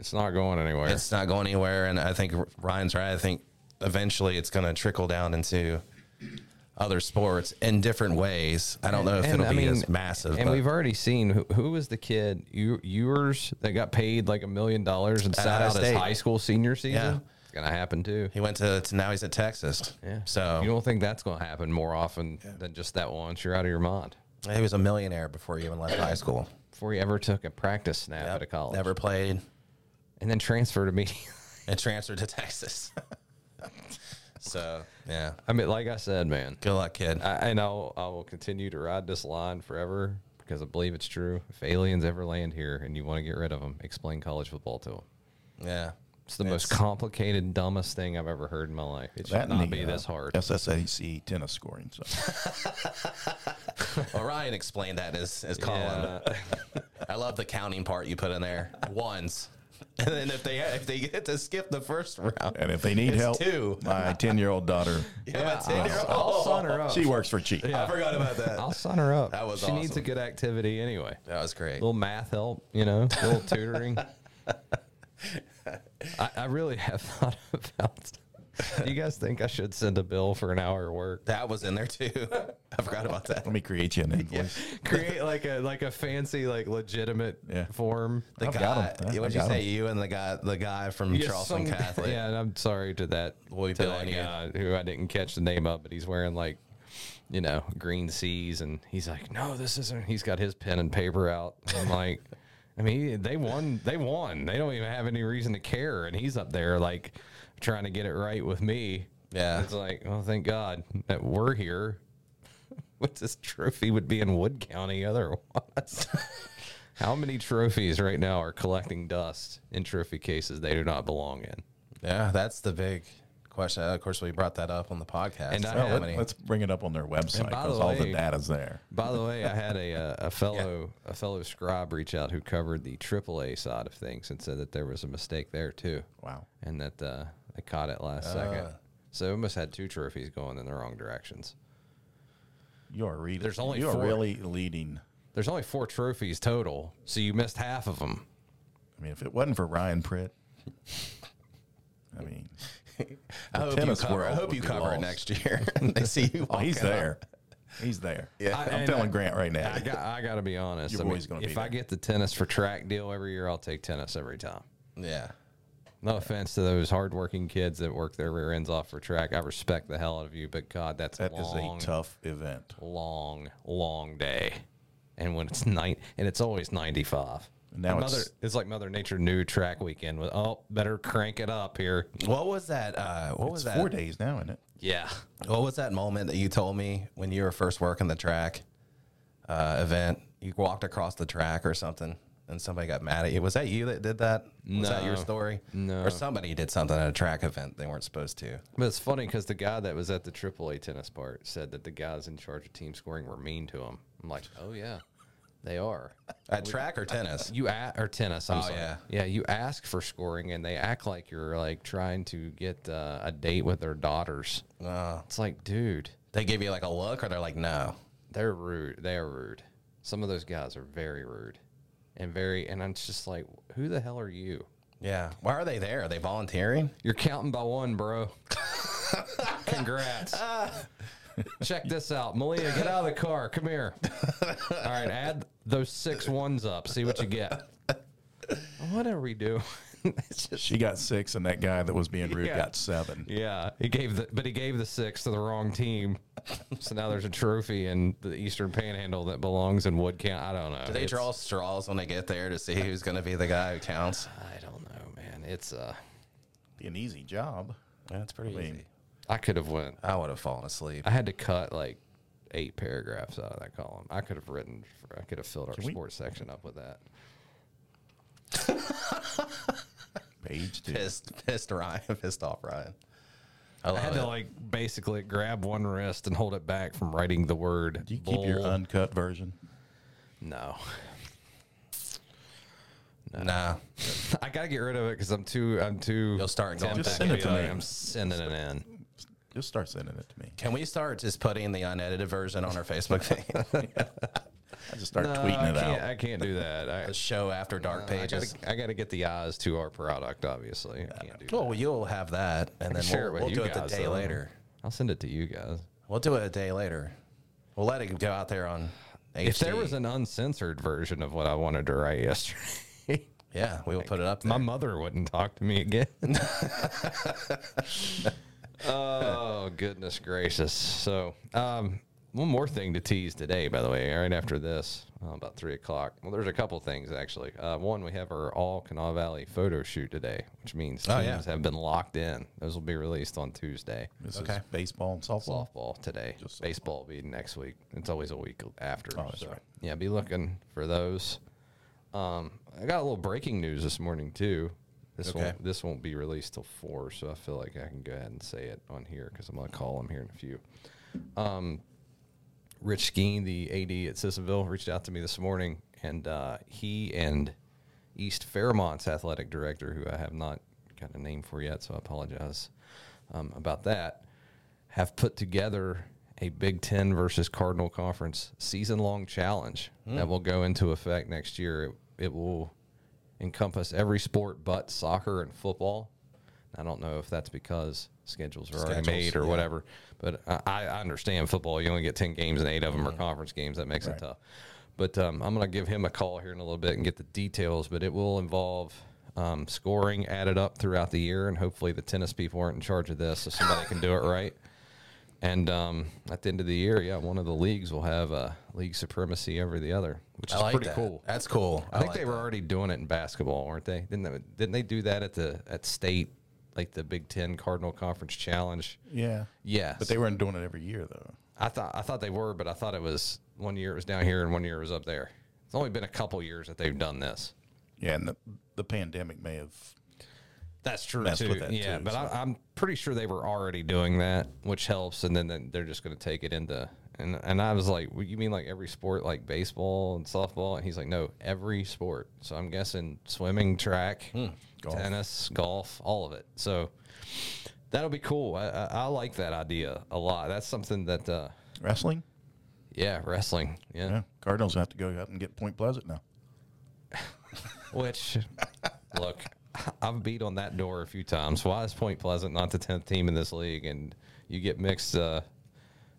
B: it's not going anywhere.
A: it's not going anywhere. And I think Ryan's right. I think eventually it's going to trickle down into other sports in different ways. I don't know if it'll be as massive.
B: And
A: but
B: we've already seen who, who was the kid you yours that got paid like a million dollars and sat
A: Ohio
B: out his
A: State.
B: high school senior season.
A: Yeah.
B: It's gonna happen too.
A: he went to, to now he's at Texas.
B: Yeah.
A: So
B: you don't think that's gonna happen more often than just that once you're out of your mind
A: he was a millionaire before he even left high school.
B: before you ever took a practice snap at a college
A: Never played
B: and then transferred immediately. [LAUGHS]
A: and transferred to Texas. [LAUGHS] so yeah,
B: I mean, like I said, man,
A: good luck, kid.
B: I, and I'll I will continue to ride this line forever because I believe it's true. If aliens ever land here and you want to get rid of them, explain college football to them.
A: yeah.
B: It's the most complicated, dumbest thing I've ever heard in my life. It should
C: That and
B: not
C: the,
B: be
C: uh,
B: this hard.
C: SSAC tennis scoring. So
B: [LAUGHS]
A: Well, Ryan explained that in his, his column.
B: Yeah.
A: I love the counting part you put in there. Ones. [LAUGHS] And then if they if they get to skip the first round,
C: and if they need
A: It's
C: help,
A: two.
B: [LAUGHS]
C: my ten year old daughter,
A: Yeah, it's in your-
B: [LAUGHS] I'll sign her up.
C: she works for cheap.
A: Oh. I forgot about that.
B: I'll sign her up.
A: That was
B: she needs a
A: awesome.
B: good activity anyway.
A: That was great.
B: little math help, you know, a little
A: [LAUGHS]
B: tutoring. I, I really have [LAUGHS] thought about. Do you guys think I should send a bill for an hour of work?
A: That was in there too. [LAUGHS] I forgot about that.
C: Let me create you an invoice.
B: Create like a like a fancy like legitimate
C: Yeah.
B: form.
A: The
C: I've got 'em.
A: guy,
C: I- I
A: what'd you
C: got
A: say?
C: 'em.
A: You and the guy, the guy from
B: Yeah,
A: Charleston
B: some-
A: Catholic.
B: [LAUGHS] Yeah, and I'm sorry to that
A: We'll
B: to
A: bill
B: that
A: you.
B: guy who I didn't catch the name of, but he's wearing like you know green seas, and he's like, "No, this isn't." He's got his pen and paper out. I'm like, [LAUGHS] I mean, they won. They won. They don't even have any reason to care, and he's up there like trying to get it right with me.
A: Yeah.
B: it's like, oh, thank God that we're here. [LAUGHS] What's this trophy would be in Wood County otherwise? [LAUGHS] How many trophies right now are collecting dust in trophy cases they do not belong in?
A: Yeah, that's the big question. Of course, we brought that up on the podcast.
B: And I-
A: How
B: Well,
A: many-
C: Oh, Let, us bring it up on their website
B: by the
C: because all the
B: way-
C: data's there.
B: By the way, I had
C: [LAUGHS]
B: a uh, a fellow a fellow scribe reach out who covered the AAA side of things and said that there was a mistake there too,
C: Wow. Uh.
B: and that uh, they caught it last second. So we must had two trophies going in the wrong directions.
C: You are reading.
B: There's only
C: you are
B: four.
C: really leading.
B: There's only four trophies total, so you missed half of them.
C: I mean, if it wasn't for Ryan Pritt, I mean,
A: I hope you
C: tennis
A: cover, I
C: world
A: hope
C: would
A: you
C: be
A: cover it
C: lost.
A: next year. [LAUGHS] they see you.
C: oh, he's
A: walk out.
C: there. He's there. Yeah,
B: I-
C: I, am
B: and
C: telling
B: I-
C: Grant right now. [LAUGHS]
B: I got I got to be honest.
C: Your
B: I mean,
C: boy's gonna be
B: if I
C: there.
B: get the tennis for track deal every year, I'll take tennis every time.
A: Yeah.
B: No offense to those hardworking kids that work their rear ends off for track. I respect the hell out of you, but God, that's
C: That is
B: long,
C: a tough event.
B: long, long day. And when it's night, and it's always ninety-five.
C: Now
B: Mother,
C: it's-
B: like Mother Nature knew track weekend was. Oh, better crank it up here.
A: What was that? Uh, what was
C: It's
A: that?
C: four days now, isn't it?
B: [LAUGHS] Yeah,
A: What was that moment that you told me when you were first working the track uh, event? You walked across the track or something, and somebody got mad at you. Was that you that did that? Was that your
B: No.
A: story?
B: No.
A: Or somebody did something at a track event they weren't supposed to.
B: but it's funny because the guy that was at the AAA tennis part said that the guys in charge of team scoring were mean to him. I'm like, oh yeah, they are.
A: At track or tennis?
B: You at or tennis? I'm
A: Oh,
B: sorry.
A: yeah.
B: yeah. You ask for scoring, and they act like you're like trying to get uh, a date with their daughters. It's like, dude,
A: They give you like a look, or they're like, "No."
B: they're rude. They're rude. Some of those guys are very rude, and very. And I'm just like, who the hell are you?
A: Yeah. Why are they there? Are they volunteering?
B: You're counting by one,
A: [LAUGHS]
B: bro. Congrats. Check this out. Malia, get out of the car. Come here. All right, add those six ones up. See what you get. What are we doing? It's just-
C: She got six, and that guy that was being rude
B: Yeah.
C: got seven.
B: Yeah, he gave the but he gave the six to the wrong team, so now there's a trophy in the Eastern Panhandle that belongs in Wood County. I don't know.
A: Do they
B: It's-
A: draw straws when they get there to see who's going to be the guy who counts?
B: I don't know, man. It's uh,
C: Be an easy job.
A: That's pretty
C: mean-
A: easy.
B: I could have went.
A: I would have fallen asleep.
B: I had to cut like eight paragraphs out of that column. I could have written. I could have filled our
C: we-
B: sports section up with that.
C: Page two.
A: Pissed, pissed Ryan, [LAUGHS] pissed off Ryan. I
B: I had
A: love
B: to
A: it.
B: like basically grab one wrist and hold it back from writing the word.
C: Do you keep your
B: bull.
C: uncut version?
B: No,
A: nah,
B: [LAUGHS] I gotta get rid of it because I'm too. I'm too.
A: You'll start going
B: tempted
A: back
C: Send it
B: be
C: to
B: like,
C: me.
B: I'm sending it in.
C: Just start sending it to me.
A: can we start just putting the unedited version on our
B: [LAUGHS]
A: Facebook thing?
C: I just start
B: No,
C: tweeting it
B: I can't,
C: out.
B: I can't do that. [LAUGHS] I,
A: [LAUGHS] the show after dark
B: I gotta.
A: pages.
B: I gotta get the eyes to our product. Obviously, I can't do that.
A: Well, you'll have that, and then
B: share
A: we'll,
B: it with
A: we'll
B: you
A: do it
B: guys,
A: the day
B: though.
A: later.
B: I'll send it to you guys.
A: We'll do it a day later. We'll let it go out there on. HD.
B: If there was an uncensored version of what I wanted to write yesterday,
A: yeah, we will put it up. There.
B: my mother wouldn't talk to me again. oh goodness gracious! So, um, one more thing to tease today, by the way. Right after this, uh, about three o'clock. Well, there's a couple things actually. Uh, one, we have our all Kanawha Valley photo shoot today, which means teams
A: Oh, yeah.
B: have been locked in. Those will be released on Tuesday.
C: This
A: Okay.
C: is baseball and softball.
B: softball today.
C: Just softball.
B: Baseball will be next week. It's always a week after.
C: Oh, that's
B: so,
C: right.
B: Yeah, be looking for those. Um, I got a little breaking news this morning too. This
A: Okay.
B: won't this won't be released till four, so I feel like I can go ahead and say it on here because I'm gonna call him here in a few. Um, Rich Skeen, the AD at Sissonville, reached out to me this morning, and uh, he and East Fairmont's athletic director, who I have not got a name for yet, so I apologize um, about that, have put together a Big Ten versus Cardinal Conference season long challenge that will go into effect next year. It, it will encompass every sport but soccer and football. I don't know if that's because schedules are already
A: Schedules,
B: made or
A: yeah.
B: whatever whatever. But I- I, I understand football. You only get 10 games, and eight of
A: Mm-hmm.
B: them are conference games. That makes it tough. But um, I'm going to give him a call here in a little bit and get the details. But it will involve um, scoring added up throughout the year, and hopefully the tennis people aren't in charge of this, so somebody can do it right. And um, at the end of the year, yeah, one of the leagues will have uh, league supremacy over the other, which
A: I
B: is
A: like
B: pretty
A: that.
B: cool.
A: That's cool.
B: I, think they were already doing it in basketball, weren't they? Didn't they, didn't they do that at the at state, like the Big Ten Cardinal Conference Challenge?
C: Yeah.
B: Yes,
C: But they weren't doing it every year though.
B: I thought I thought they were, but I thought it was one year it was down here and one year it was up there. It's only been a couple years that they've done this.
C: Yeah, and the, the pandemic may have.
B: That's true
C: Messed
B: too.
C: with that,
B: yeah,
C: too,
B: but
C: so.
B: I, I'm pretty sure they were already doing that, which helps. And then- then they're just going to take it into and and I was like, well, you mean like every sport, like baseball and softball? And he's like, no, every sport. So I'm guessing swimming, track,
C: Hmm, golf.
B: tennis, golf, all of it. So that'll be cool. I, I, I like that idea a lot. That's something that uh,
C: Wrestling?
B: yeah, wrestling. yeah.
C: Yeah. Cardinals have to go out and get Point Pleasant now.
B: Which, look, I've beat on that door a few times. Why is Point Pleasant not the tenth team in this league? And you get mixed, uh,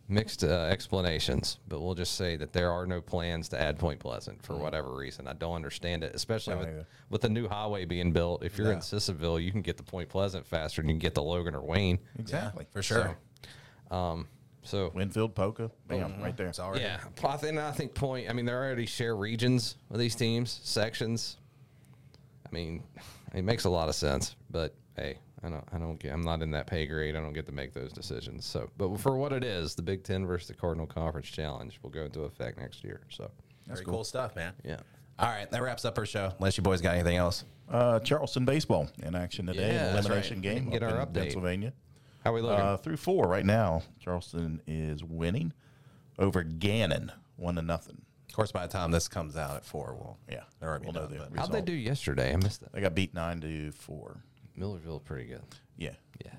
B: mixed uh, explanations. But we'll just say that there are no plans to add Point Pleasant for whatever reason. I don't understand it, especially with,
C: either.
B: with the new highway being built. If you're in Sissonville, you can get to Point Pleasant faster than you can get to Logan or Wayne.
C: Exactly.
A: for sure.
B: So
C: Winfield Polka. Bam, right there.
A: It's already
B: Yeah, Pl- I think I think point. I mean, they already share regions with these teams, sections. I mean, it makes a lot of sense. But hey, I don't, I don't get. I'm not in that pay grade. I don't get to make those decisions. So, but for what it is, the Big Ten versus the Cardinal Conference Challenge will go into effect next year. So,
A: very cool stuff, man.
B: yeah,
A: All right, that wraps up our show. Unless you boys got anything else.
C: Uh, Charleston baseball in action today.
B: Yeah,
C: an
B: that's
C: elimination
B: right.
C: game.
B: Get
C: up
B: our
C: in
B: update.
C: Pennsylvania.
B: how we looking?
C: Uh, through four right now, Charleston is winning over Gannon, one to nothing.
A: Of course, by the time this comes out at four, we'll
C: Yeah,
A: they're already
C: we'll know
A: done,
C: the
A: but-
C: result.
B: How'd they do yesterday? I missed that.
C: They got beat nine to four.
B: Millerville, pretty good.
C: Yeah,
B: Yeah.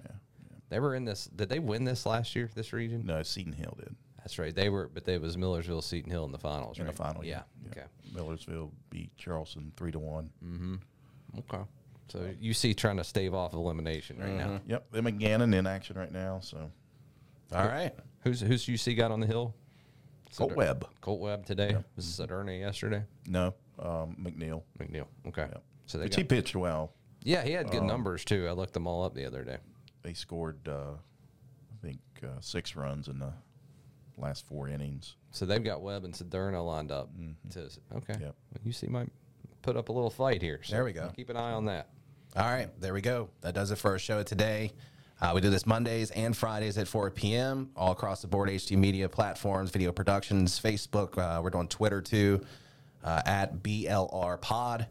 B: They were in this. Did they win this last year? This region?
C: No, Seton Hill did
B: That's right. They were, but they was Millersville, Seton Hill in the finals.
C: in the
B: right?
C: final.
B: Yeah.
C: yeah.
B: Okay. Mm.
C: Millersville beat Charleston three to one.
B: Okay. So you see trying to stave off elimination right now.
C: Yep, them and Gannon in action right now. So
A: All right,
B: Who's who's UC got on the hill?
C: Colt
B: Sedar-
C: Webb.
B: Colt Webb today. Was Saturnia yesterday?
C: No, um, McNeil.
B: McNeil. Okay. So they
C: Which he
B: got,
C: pitched well.
B: yeah, he had good
A: Um,
B: numbers too. I looked them all up the other day.
C: They scored, uh, I think, uh, six runs in the last four innings.
B: So they've got Webb and Saderno lined up.
A: Mm-hmm.
B: To, okay.
C: Yep.
B: UC might put up a little fight here. So
A: There we go.
B: Keep an eye on that.
A: all right, there we go. That does it for our show today. Uh, we do this Mondays and Fridays at 4 p.m. all across the board HD media platforms, video productions, Facebook. Uh, we're doing Twitter too, uh, at BLR Pod.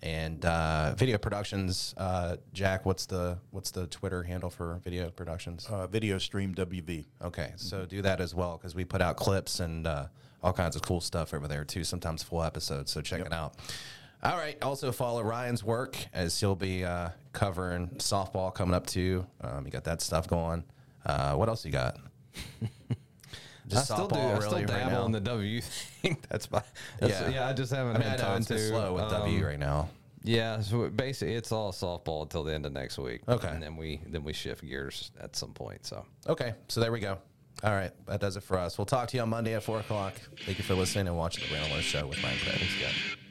A: and uh, video productions. Uh, Jack, what's the what's the Twitter handle for video productions?
C: Uh, video stream WV.
A: Okay,
B: Mm-hmm.
A: so do that as well because we put out clips and uh, all kinds of cool stuff over there too. Sometimes full episodes, so check it out. All right. Also follow Ryan's work as he'll be uh, covering softball coming up too. Um, you got that stuff going. Uh, what else you
B: [LAUGHS]
A: got?
B: I still do. I still
A: right
B: dabble
A: now.
B: in the W thing. [LAUGHS] That's my. That's, yeah.
A: Yeah.
B: I just haven't
A: I mean, I
B: had
A: know
B: time
A: it's
B: to.
A: been slow with W
B: Um,
A: right now.
B: Yeah. So basically, it's all softball until the end of next week.
A: Okay.
B: And then we then we shift gears at some point. So
A: Okay, so there we go. All right, that does it for us. We'll talk to you on Monday at four o'clock. Thank you for listening and watching the Randall Lowe Show with Ryan Craig. Thanks, guys.